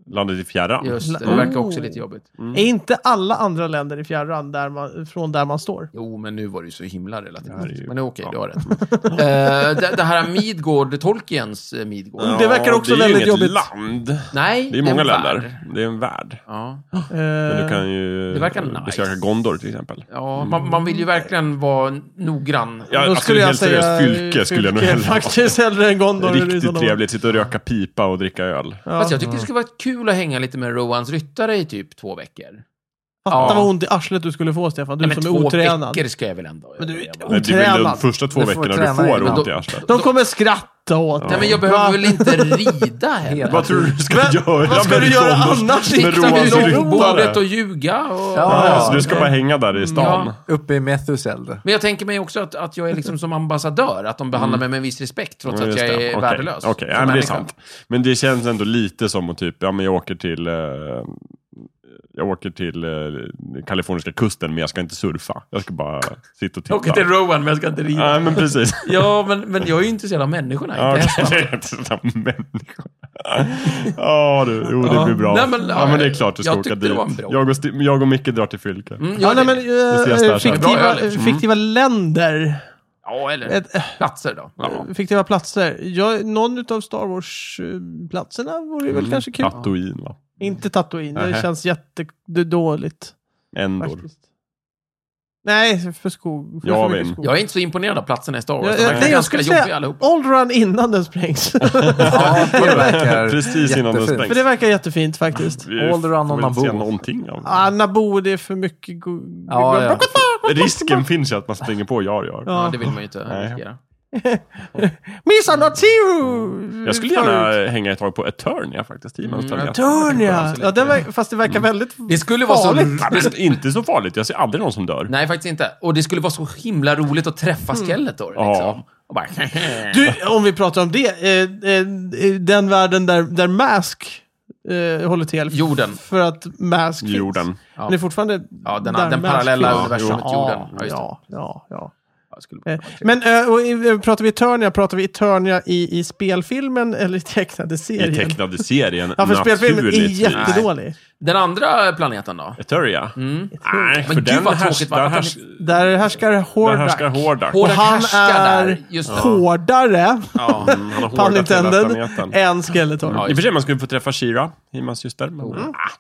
[SPEAKER 4] Landet i fjärran.
[SPEAKER 2] Just det.
[SPEAKER 1] Oh.
[SPEAKER 2] Det verkar också lite jobbigt.
[SPEAKER 4] Mm.
[SPEAKER 1] Är inte alla andra länder i fjärran där man, från där man står?
[SPEAKER 2] Jo, men nu var det ju så himla relativt.
[SPEAKER 4] Ja, det är ju-
[SPEAKER 2] Men det är okej,
[SPEAKER 4] ja.
[SPEAKER 2] du har rätt. Eh, det, det här Midgård, Tolkiens eh, Midgård.
[SPEAKER 1] Ja. Det verkar också
[SPEAKER 4] det är ju
[SPEAKER 1] väldigt
[SPEAKER 4] inget
[SPEAKER 1] jobbigt.
[SPEAKER 4] land.
[SPEAKER 2] Nej,
[SPEAKER 4] Det är många
[SPEAKER 2] en värld.
[SPEAKER 4] länder. Det är en värld.
[SPEAKER 2] Ja,
[SPEAKER 4] Men
[SPEAKER 1] Eh,
[SPEAKER 4] du kan ju
[SPEAKER 2] Det verkar nice.
[SPEAKER 4] besöka Gondor till exempel.
[SPEAKER 2] ja man, man vill ju verkligen vara noggrann.
[SPEAKER 4] Ja,
[SPEAKER 1] Då
[SPEAKER 4] alltså,
[SPEAKER 1] skulle jag
[SPEAKER 4] helt
[SPEAKER 1] säga
[SPEAKER 4] seriöst, fylke skulle jag nog hellre [laughs] ha.
[SPEAKER 1] Faktiskt hellre än Gondor. liksom i
[SPEAKER 4] Riktigt
[SPEAKER 1] sådana fall.
[SPEAKER 4] trevligt, sitta och röka pipa och dricka öl.
[SPEAKER 1] Ja.
[SPEAKER 2] Fast jag tyckte det skulle vara kul att hänga lite med Rohans ryttare i typ två veckor.
[SPEAKER 1] Fatta
[SPEAKER 2] Ja.
[SPEAKER 1] vad ont i arslet du skulle få Stefan, du
[SPEAKER 2] Nej, men
[SPEAKER 1] som är
[SPEAKER 2] två
[SPEAKER 1] otränad.
[SPEAKER 2] veckor ska jag väl ändå
[SPEAKER 1] Men du är
[SPEAKER 2] göra.
[SPEAKER 4] Nej, det är väl de
[SPEAKER 1] otränad.
[SPEAKER 4] första två
[SPEAKER 3] Du får
[SPEAKER 4] veckorna
[SPEAKER 3] träna
[SPEAKER 4] du får
[SPEAKER 3] innan.
[SPEAKER 4] ont i arslet.
[SPEAKER 1] De kommer skratta åt
[SPEAKER 2] Nej,
[SPEAKER 1] dig.
[SPEAKER 2] men jag behöver
[SPEAKER 1] Va?
[SPEAKER 2] väl inte
[SPEAKER 4] [laughs]
[SPEAKER 2] rida heller?
[SPEAKER 4] Vad tror du du Alltså, ska
[SPEAKER 1] Men-
[SPEAKER 4] göra
[SPEAKER 1] vad ska
[SPEAKER 4] med
[SPEAKER 1] du göra
[SPEAKER 4] Gondors-
[SPEAKER 1] annars?
[SPEAKER 4] Med
[SPEAKER 1] Sitta vid
[SPEAKER 4] Rohans
[SPEAKER 1] långbordet
[SPEAKER 2] Bordet och
[SPEAKER 4] ryttare?
[SPEAKER 2] ljuga och...
[SPEAKER 3] Ja.
[SPEAKER 4] Ja, så du ska bara hänga där i stan?
[SPEAKER 2] Ja.
[SPEAKER 3] Uppe i Methuseld.
[SPEAKER 2] Men jag tänker mig också att, att jag är liksom som ambassadör, att de behandlar mig med en viss respekt trots
[SPEAKER 4] Mm. Ja,
[SPEAKER 2] att
[SPEAKER 4] just
[SPEAKER 2] jag är
[SPEAKER 4] det. Okej.
[SPEAKER 2] värdelös. som
[SPEAKER 4] Okej, ja, men det är
[SPEAKER 2] människa.
[SPEAKER 4] sant. Men det känns ändå lite som att typ, ja men jag åker till eh, jag åker till eh, kaliforniska kusten men jag ska inte surfa. Jag ska bara sitta och titta.
[SPEAKER 2] Jag åker till Rowan, men jag ska inte rida.
[SPEAKER 4] Ja, men precis.
[SPEAKER 2] Ja, men, men jag är ju intresserad av människorna, inte
[SPEAKER 4] Ja, [laughs]
[SPEAKER 2] hästarna.
[SPEAKER 4] okej, det är inte sådana människor. Ja du, jo det blir bra.
[SPEAKER 2] Nej, men, eh,
[SPEAKER 4] ja, men det är klart du ska
[SPEAKER 2] jag
[SPEAKER 4] åka
[SPEAKER 2] tyckte det
[SPEAKER 4] dit.
[SPEAKER 2] var en bra-
[SPEAKER 4] Jag och, Sti- jag och Micke drar till Fylke.
[SPEAKER 2] Mm,
[SPEAKER 1] Ja,
[SPEAKER 2] gör det.
[SPEAKER 1] nej, men, eh,
[SPEAKER 4] ses där sen.
[SPEAKER 2] Bra
[SPEAKER 1] fiktiva,
[SPEAKER 2] öl, liksom.
[SPEAKER 1] fiktiva länder.
[SPEAKER 2] Ja, eller
[SPEAKER 1] Ett, eh,
[SPEAKER 2] platser då. Ja.
[SPEAKER 1] fiktiva platser. Jag, någon av Star Wars-platserna vore ju
[SPEAKER 4] Mm.
[SPEAKER 1] väl kanske kul.
[SPEAKER 4] Tatooine va?
[SPEAKER 1] Inte Tatooine, det
[SPEAKER 4] Mm. Nähä.
[SPEAKER 1] känns jättedåligt.
[SPEAKER 4] Endor.
[SPEAKER 1] Faktiskt. Nej, för skog. För
[SPEAKER 4] Ja,
[SPEAKER 1] för mycket
[SPEAKER 4] men-
[SPEAKER 1] skog.
[SPEAKER 2] Jag är inte så imponerad av platserna i Star Wars.
[SPEAKER 1] Jag-
[SPEAKER 2] De
[SPEAKER 1] jag-
[SPEAKER 2] verkar
[SPEAKER 1] nej, jag
[SPEAKER 2] ganska
[SPEAKER 1] skulle
[SPEAKER 2] jobbiga
[SPEAKER 1] säga
[SPEAKER 2] allihopa.
[SPEAKER 1] Allrun innan
[SPEAKER 4] [laughs]
[SPEAKER 1] den sprängs.
[SPEAKER 3] Ja, det verkar
[SPEAKER 4] Precis innan den
[SPEAKER 3] jättefint.
[SPEAKER 1] För
[SPEAKER 4] stängs.
[SPEAKER 1] det verkar jättefint faktiskt.
[SPEAKER 4] Vi
[SPEAKER 3] All around
[SPEAKER 4] får
[SPEAKER 3] on
[SPEAKER 4] väl inte se
[SPEAKER 3] Naboo.
[SPEAKER 4] någonting av det.
[SPEAKER 1] Ah, Nabo, det är för mycket go-
[SPEAKER 3] Ja, ja.
[SPEAKER 4] Risken finns ju att man springer på Jar Jar.
[SPEAKER 2] Ja,
[SPEAKER 1] Ja.
[SPEAKER 2] det vill man ju inte
[SPEAKER 4] Nej.
[SPEAKER 2] riskera.
[SPEAKER 1] Missa Natiru!
[SPEAKER 4] Jag skulle gärna hänga ett tag på Eternia faktiskt. i
[SPEAKER 2] Mm,
[SPEAKER 4] Man's Planet.
[SPEAKER 1] Eternia! Ja, den verk- fast det
[SPEAKER 4] Mm.
[SPEAKER 1] verkar väldigt...
[SPEAKER 2] Det skulle vara så...
[SPEAKER 1] Farligt.
[SPEAKER 4] Nej, men inte så farligt. Jag ser aldrig någon som dör.
[SPEAKER 2] Nej, faktiskt inte. Och det skulle vara så himla roligt att träffa Skeletor. Liksom.
[SPEAKER 4] Mm. Ja.
[SPEAKER 2] Och bara... [laughs]
[SPEAKER 1] Du, om vi pratar om det. Eh, eh, den världen där, där Mask eh, håller till.
[SPEAKER 2] Jorden.
[SPEAKER 1] För att Mask finns.
[SPEAKER 4] Jorden.
[SPEAKER 1] Men det är fortfarande...
[SPEAKER 2] Ja, den,
[SPEAKER 1] där
[SPEAKER 2] den
[SPEAKER 1] Mask
[SPEAKER 2] parallella
[SPEAKER 1] finns.
[SPEAKER 2] universumet jorden.
[SPEAKER 1] Ja,
[SPEAKER 2] Ja, just det.
[SPEAKER 1] ja, ja. ja.
[SPEAKER 2] Ja, det skulle vara
[SPEAKER 1] Eh,
[SPEAKER 2] trevligt.
[SPEAKER 1] Men eh, och, eh, pratar vi Eternia, pratar vi Eternia i, i spelfilmen eller i tecknade serien?
[SPEAKER 4] I tecknade serien.
[SPEAKER 1] ja, för spelfilmen är
[SPEAKER 4] naturligtvis.
[SPEAKER 1] jättedålig.
[SPEAKER 2] Den andra planeten då?
[SPEAKER 4] Eternia? Nej, för
[SPEAKER 2] Mm. Men gud
[SPEAKER 4] den
[SPEAKER 2] vad
[SPEAKER 4] härs-
[SPEAKER 2] tråkigt. Varför
[SPEAKER 4] där
[SPEAKER 2] kan
[SPEAKER 4] härs-
[SPEAKER 2] ni-
[SPEAKER 1] Där härskar
[SPEAKER 4] där
[SPEAKER 1] Hordak.
[SPEAKER 4] härskar Hordak.
[SPEAKER 2] Hordak
[SPEAKER 1] Och han
[SPEAKER 2] härskar
[SPEAKER 1] är
[SPEAKER 2] där. Just det.
[SPEAKER 1] hårdare,
[SPEAKER 2] Ja.
[SPEAKER 4] Mm, Han har
[SPEAKER 1] pun
[SPEAKER 4] hårdat hela
[SPEAKER 1] intended,
[SPEAKER 4] planeten.
[SPEAKER 1] än Skeletor.
[SPEAKER 2] Ja,
[SPEAKER 4] I och för sig, man skulle få träffa Shira, Himans syster. Men, Ah,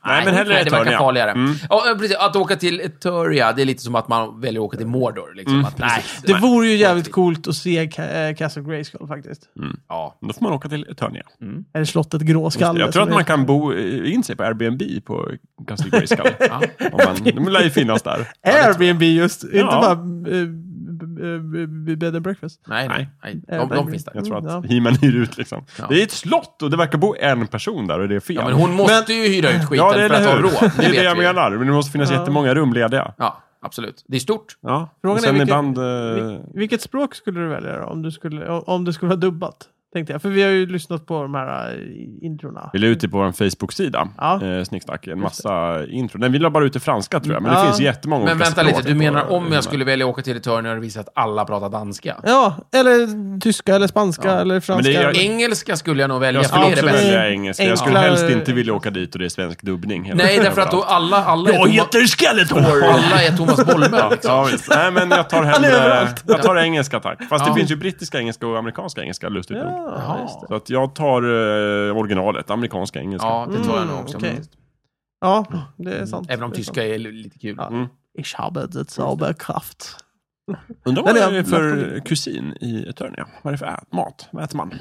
[SPEAKER 4] nej, men hellre
[SPEAKER 2] Oh. nej, det verkar
[SPEAKER 4] Eternia. Mm.
[SPEAKER 2] farligare. Ja, eh, precis. Att åka till Eturia, det är lite som att man väljer att åka till
[SPEAKER 4] Mm.
[SPEAKER 2] Mordor. Liksom. Att, nej,
[SPEAKER 1] Det vore ju jävligt coolt att se Ca- eh, Castle Grayskull faktiskt.
[SPEAKER 4] Mm.
[SPEAKER 2] ja.
[SPEAKER 4] Då får man åka till Eternia.
[SPEAKER 2] Mm.
[SPEAKER 1] Eller slottet alltså, Gråskalle.
[SPEAKER 4] Jag tror att
[SPEAKER 1] som
[SPEAKER 4] man
[SPEAKER 1] heter.
[SPEAKER 4] kan bo eh, in sig på Airbnb på Castle Grayskull.
[SPEAKER 2] [laughs] Ja.
[SPEAKER 4] Om man, de lär ju finnas där.
[SPEAKER 1] Airbnb just, inte
[SPEAKER 4] Ja.
[SPEAKER 1] bara eh, b- b- bed and breakfast.
[SPEAKER 2] Nej, nej.
[SPEAKER 4] Nej. Eh,
[SPEAKER 2] nej. De, de finns där.
[SPEAKER 4] Jag tror
[SPEAKER 1] Mm,
[SPEAKER 4] att
[SPEAKER 1] ja.
[SPEAKER 4] He-Man hyr ut liksom.
[SPEAKER 2] Ja.
[SPEAKER 4] Det är ett slott och det verkar bo en person där och det är fel.
[SPEAKER 2] Ja, men hon måste ju hyra ut skiten
[SPEAKER 4] Ja, det är
[SPEAKER 2] för att
[SPEAKER 4] det
[SPEAKER 2] ha
[SPEAKER 4] hur.
[SPEAKER 2] råd.
[SPEAKER 4] Det är det
[SPEAKER 2] vet
[SPEAKER 4] jag
[SPEAKER 2] vi.
[SPEAKER 4] menar. Men det måste finnas
[SPEAKER 1] Ja.
[SPEAKER 4] jättemånga rum lediga.
[SPEAKER 2] Ja, absolut. Det är stort.
[SPEAKER 4] Ja.
[SPEAKER 1] Frågan
[SPEAKER 4] och
[SPEAKER 1] är
[SPEAKER 4] sen
[SPEAKER 1] vilken-
[SPEAKER 4] ibland... eh,
[SPEAKER 1] Vil- Vilket språk skulle du välja då, om, du skulle, om det skulle vara dubbat? Tänkte jag, för vi har ju lyssnat på de här eh, introna.
[SPEAKER 4] Vi la ut det på vår Facebook-sida,
[SPEAKER 1] Ja.
[SPEAKER 4] eh, Snicksnack. En massa intro. Nej, vi la bara ut det franska tror jag, men det
[SPEAKER 1] Ja.
[SPEAKER 4] finns jättemånga
[SPEAKER 2] Men
[SPEAKER 4] olika
[SPEAKER 2] vänta
[SPEAKER 4] språk
[SPEAKER 2] lite, du
[SPEAKER 4] på-
[SPEAKER 2] menar om jag skulle välja att åka till Eternia och det visar att alla pratar danska?
[SPEAKER 1] Ja, eller tyska, eller spanska, eller franska.
[SPEAKER 4] jag-
[SPEAKER 1] eller-
[SPEAKER 2] Engelska skulle jag nog välja,
[SPEAKER 4] Jag
[SPEAKER 2] för
[SPEAKER 4] skulle
[SPEAKER 2] det är det
[SPEAKER 4] också
[SPEAKER 1] bästa.
[SPEAKER 4] välja engelska. Jag skulle
[SPEAKER 1] Enklare-
[SPEAKER 4] helst inte vilja åka dit och det är svensk dubbning. hela
[SPEAKER 2] Nej,
[SPEAKER 4] tiden
[SPEAKER 2] därför att då
[SPEAKER 4] överallt.
[SPEAKER 2] alla, alla, är, Toma,
[SPEAKER 4] Skeletor!
[SPEAKER 2] alla är Thomas Bolme. Liksom.
[SPEAKER 4] Ja, visst. Nej, men jag tar
[SPEAKER 1] är
[SPEAKER 4] hellre...
[SPEAKER 1] överallt.
[SPEAKER 4] Jag tar engelska, tack. Fast
[SPEAKER 2] Ja.
[SPEAKER 4] det finns ju brittiska engelska och amerikanska engelska, lustigt nog.
[SPEAKER 1] Ja, just det.
[SPEAKER 4] Så att jag tar eh, originalet, amerikanska engelska.
[SPEAKER 2] Ja, det tror jag
[SPEAKER 1] Mm,
[SPEAKER 2] nog också.
[SPEAKER 1] okej. ja, det är sant.
[SPEAKER 2] Även om
[SPEAKER 1] Det är sant.
[SPEAKER 2] tyska är lite kul.
[SPEAKER 1] Ja.
[SPEAKER 4] Mm.
[SPEAKER 1] Ich habe det Zauberkraft.
[SPEAKER 4] Undrar vad det
[SPEAKER 1] Eller-
[SPEAKER 4] är för kusin i Eternia? Vad är det för ät? mat? Vad äter man?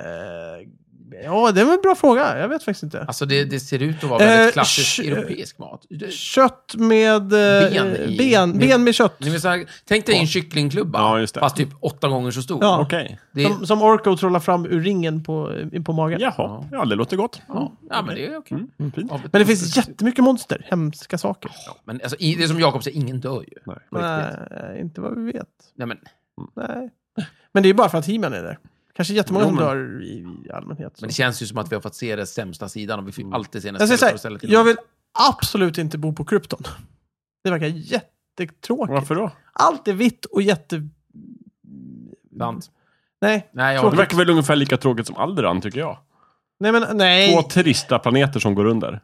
[SPEAKER 1] Eh, ja, det var en bra fråga. Jag vet faktiskt inte.
[SPEAKER 2] Alltså det, det ser ut att vara
[SPEAKER 1] Eh,
[SPEAKER 2] väldigt klassisk
[SPEAKER 1] sh-
[SPEAKER 2] europeisk mat. Det-
[SPEAKER 1] Kött med... eh,
[SPEAKER 2] Ben i-
[SPEAKER 1] ben, ben med kött.
[SPEAKER 2] Ni vet så här, tänk dig en kycklingklubba,
[SPEAKER 4] Ja, just det.
[SPEAKER 2] fast typ åtta gånger så stor.
[SPEAKER 1] Ja.
[SPEAKER 4] Okej.
[SPEAKER 2] Det,
[SPEAKER 1] Som, som Orko trollar fram ur ringen på, in på magen.
[SPEAKER 4] Jaha, ja, det låter gott.
[SPEAKER 2] ja, ja, men det är okej.
[SPEAKER 4] Mm, fint.
[SPEAKER 2] Ja,
[SPEAKER 1] Men det finns jättemycket monster. Hemska saker.
[SPEAKER 2] men alltså, i, det är som Jakob säger, ingen dör ju.
[SPEAKER 4] Nej.
[SPEAKER 1] Nej, inte vad vi vet.
[SPEAKER 2] Nej, men,
[SPEAKER 1] Nej. Men det är bara för att he är där. Kanske jättemånga
[SPEAKER 4] Jo,
[SPEAKER 1] som
[SPEAKER 4] men-
[SPEAKER 1] dör i, i allmänhet. så.
[SPEAKER 2] men det känns ju som att vi har fått se den sämsta sidan och vi får alltid se den
[SPEAKER 1] Mm. Jag säger så
[SPEAKER 2] sämsta
[SPEAKER 1] här,
[SPEAKER 2] istället.
[SPEAKER 1] jag vill absolut inte bo på krypton. Det verkar jättetråkigt.
[SPEAKER 4] Varför då?
[SPEAKER 1] Allt är vitt och jätte...
[SPEAKER 2] Sant.
[SPEAKER 1] Nej,
[SPEAKER 2] Nej, jag
[SPEAKER 4] Det verkar väl ungefär lika tråkigt som Alderan, tycker jag.
[SPEAKER 1] nej men nej.
[SPEAKER 4] Två trista planeter som går under.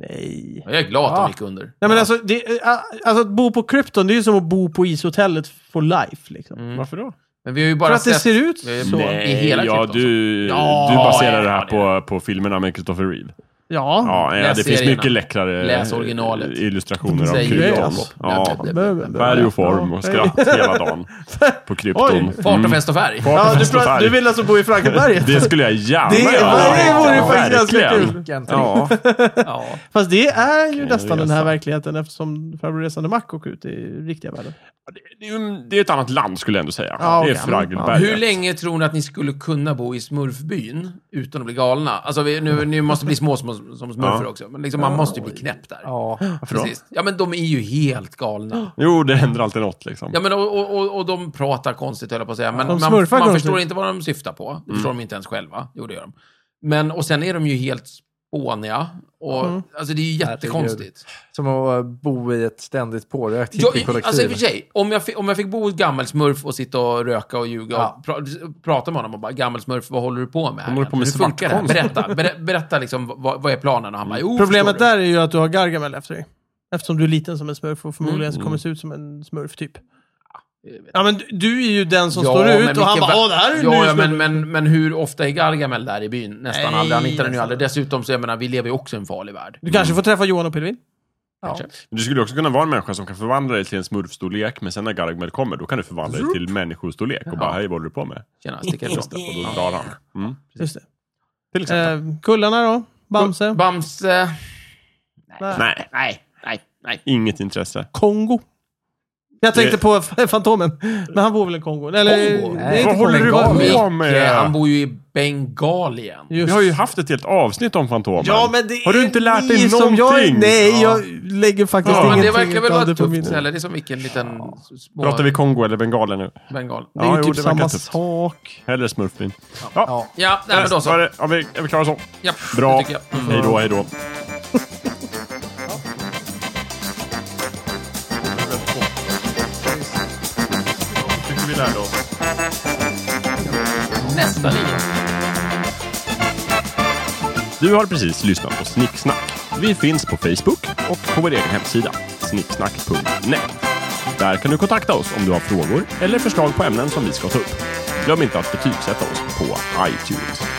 [SPEAKER 1] Nej.
[SPEAKER 2] Jag är glad att de
[SPEAKER 4] Ja.
[SPEAKER 2] gick under.
[SPEAKER 1] Nej men alltså, det, äh, alltså att bo på krypton, det är ju som att bo på ishotellet for life. Liksom.
[SPEAKER 2] Mm.
[SPEAKER 4] Varför då?
[SPEAKER 2] Men vi har ju bara
[SPEAKER 1] För att det
[SPEAKER 2] sett...
[SPEAKER 1] ser ut
[SPEAKER 2] vi har ju
[SPEAKER 1] så.
[SPEAKER 2] bara- I hela
[SPEAKER 4] ja,
[SPEAKER 2] krypton,
[SPEAKER 4] du,
[SPEAKER 2] Ja,
[SPEAKER 4] du baserar
[SPEAKER 2] ja,
[SPEAKER 4] det här
[SPEAKER 2] det är
[SPEAKER 4] på, på filmerna med Christopher Reeve.
[SPEAKER 1] Ja.
[SPEAKER 4] Ja,
[SPEAKER 2] läs
[SPEAKER 4] det finns
[SPEAKER 2] serierna.
[SPEAKER 4] mycket läckrare
[SPEAKER 2] Läs originalet.
[SPEAKER 4] illustrationer av
[SPEAKER 2] Säger
[SPEAKER 1] ju
[SPEAKER 4] krypton.
[SPEAKER 1] Jakob.
[SPEAKER 4] Ja,
[SPEAKER 1] Bö, bö, bö, bö.
[SPEAKER 4] färg och form och skratt hela dagen
[SPEAKER 1] [laughs]
[SPEAKER 4] på krypton.
[SPEAKER 1] Oj.
[SPEAKER 2] Fart och fest och färg.
[SPEAKER 1] Ja, du,
[SPEAKER 4] Fest och
[SPEAKER 1] pra-
[SPEAKER 4] färg.
[SPEAKER 1] du vill alltså bo i
[SPEAKER 4] [laughs]
[SPEAKER 1] Frankenberget?
[SPEAKER 4] Det skulle jag gärna
[SPEAKER 1] Det,
[SPEAKER 4] göra.
[SPEAKER 1] det vore faktiskt ganska
[SPEAKER 4] Verkligen.
[SPEAKER 1] kul.
[SPEAKER 3] Vilken trevlig
[SPEAKER 4] Ja,
[SPEAKER 2] Ja.
[SPEAKER 1] Fast det är ju
[SPEAKER 4] Vilken
[SPEAKER 1] nästan den
[SPEAKER 4] resa.
[SPEAKER 1] här verkligheten eftersom Farbror Resande Mack åker ut i riktiga världen.
[SPEAKER 4] det är ju- det är ett annat land skulle jag ändå säga.
[SPEAKER 1] Ja,
[SPEAKER 4] det är
[SPEAKER 1] okej.
[SPEAKER 4] Fraggelberget.
[SPEAKER 2] Hur länge tror ni att ni skulle kunna bo i smurfbyn utan att bli galna? Alltså, vi, nu, ni måste bli små som, som smurfer
[SPEAKER 4] Ja.
[SPEAKER 2] också. Men liksom, man måste ju bli knäpp där.
[SPEAKER 3] Ja,
[SPEAKER 2] Till sist. Ja, men de är ju helt
[SPEAKER 1] [gasps]
[SPEAKER 2] galna.
[SPEAKER 4] Jo, det händer alltid något liksom.
[SPEAKER 2] Ja, men och, och- och, och de pratar konstigt, höll jag på att säga. Men
[SPEAKER 1] De
[SPEAKER 2] man, man
[SPEAKER 1] smurfar konstigt.
[SPEAKER 2] förstår inte vad de syftar på. Det förstår de inte ens själva. Jo, det gör de. Men, och sen är de ju helt fåniga. Och,
[SPEAKER 1] Mm.
[SPEAKER 2] Alltså det är ju jättekonstigt.
[SPEAKER 3] Som att bo i ett ständigt pårökt
[SPEAKER 2] Jag, alltså i och
[SPEAKER 3] hippiekollektiv.
[SPEAKER 2] för sig, om jag, fi- om jag fick bo i ett gammelsmurf och sitta och röka och ljuga
[SPEAKER 3] Ja.
[SPEAKER 2] och pra, prata med honom och bara gammelsmurf, vad håller du på med? här?
[SPEAKER 4] håller på med
[SPEAKER 2] Hur funkar det här?
[SPEAKER 4] svartkonst.
[SPEAKER 2] Berätta, ber, berätta liksom, vad, vad är planen? Och han bara, jo,
[SPEAKER 1] Problemet
[SPEAKER 2] förstår du.
[SPEAKER 1] där är ju att du har Gargamel efter dig. Eftersom du är liten som en smurf och förmodligen så kommer du se ut som en smurf typ. Ja men du- du är ju den som
[SPEAKER 2] Ja,
[SPEAKER 1] står
[SPEAKER 2] men
[SPEAKER 1] ut och han
[SPEAKER 2] vilken va-
[SPEAKER 1] bara åh det här är ju
[SPEAKER 2] Ja,
[SPEAKER 1] nu
[SPEAKER 2] ja men,
[SPEAKER 1] men,
[SPEAKER 2] men, men hur ofta är Gargamel där i byn? Nästan
[SPEAKER 1] Nej, alltså.
[SPEAKER 2] aldrig. Han hittar den ju
[SPEAKER 1] nästan
[SPEAKER 2] aldrig. Dessutom så, jag menar, vi lever ju också i en farlig värld.
[SPEAKER 1] Du kanske får träffa Johan och Pilvin?
[SPEAKER 2] Kanske.
[SPEAKER 4] Du skulle också kunna vara en människa som kan förvandla dig till en smurfstorlek, men sen när Gargamel kommer, då kan du förvandla dig till människostorlek och bara, hej, vad håller du på med?
[SPEAKER 2] Tjena, stick
[SPEAKER 4] Just det, Och då
[SPEAKER 1] [laughs]
[SPEAKER 4] drar han. Mm.
[SPEAKER 1] Just det.
[SPEAKER 4] Till exempel.
[SPEAKER 1] Eh, kullarna då? Bamse?
[SPEAKER 2] Bamse.
[SPEAKER 1] Nej.
[SPEAKER 4] Nej,
[SPEAKER 2] Nej, nej, nej.
[SPEAKER 4] inget intresse.
[SPEAKER 1] Kongo? Jag tänkte
[SPEAKER 4] Det-
[SPEAKER 1] på [laughs] F- Fantomen, men han bor väl i Kongo? Eller, eh,
[SPEAKER 2] Kongo?
[SPEAKER 1] det är
[SPEAKER 3] Nej.
[SPEAKER 1] inte
[SPEAKER 4] Vad
[SPEAKER 3] på
[SPEAKER 4] håller du
[SPEAKER 3] Bengal.
[SPEAKER 4] på
[SPEAKER 2] Micke, han
[SPEAKER 4] med?
[SPEAKER 2] bor ju i Bengalien.
[SPEAKER 4] Vi
[SPEAKER 1] Just.
[SPEAKER 4] har ju haft ett helt avsnitt om Fantomen.
[SPEAKER 1] Ja, men det
[SPEAKER 4] Har du
[SPEAKER 1] är
[SPEAKER 4] inte lärt dig
[SPEAKER 1] ni som Jag,
[SPEAKER 4] någonting?
[SPEAKER 1] nej,
[SPEAKER 2] Ja.
[SPEAKER 1] jag lägger faktiskt
[SPEAKER 4] Ja,
[SPEAKER 1] ja,
[SPEAKER 4] men
[SPEAKER 2] Men det
[SPEAKER 1] ingenting
[SPEAKER 2] verkar väl
[SPEAKER 1] utav
[SPEAKER 2] vara
[SPEAKER 1] det på min...
[SPEAKER 2] tufft, eller? Det är som vilken liten s- små
[SPEAKER 4] Pratar vi Kongo eller Bengalen nu?
[SPEAKER 2] Bengal.
[SPEAKER 1] Det är
[SPEAKER 4] Ja,
[SPEAKER 1] ju
[SPEAKER 4] jo,
[SPEAKER 1] typ
[SPEAKER 4] det verkar
[SPEAKER 1] samma
[SPEAKER 4] tufft.
[SPEAKER 1] sak.
[SPEAKER 4] Eller smurfbyn. Ja,
[SPEAKER 3] Ja.
[SPEAKER 2] Ja, nej, men då så.
[SPEAKER 4] Var det- Är vi, är vi klara så?
[SPEAKER 2] Ja,
[SPEAKER 4] Bra.
[SPEAKER 2] det tycker jag. Mm.
[SPEAKER 4] Hej då, hej då. Tycker vi lärde oss.
[SPEAKER 2] Nästa liv.
[SPEAKER 4] Du har precis lyssnat på Snicksnack. Vi finns på Facebook och på vår egen hemsida, snicksnack.net. Där kan du kontakta oss om du har frågor eller förslag på ämnen som vi ska ta upp. Glöm inte att betygsätta oss på iTunes.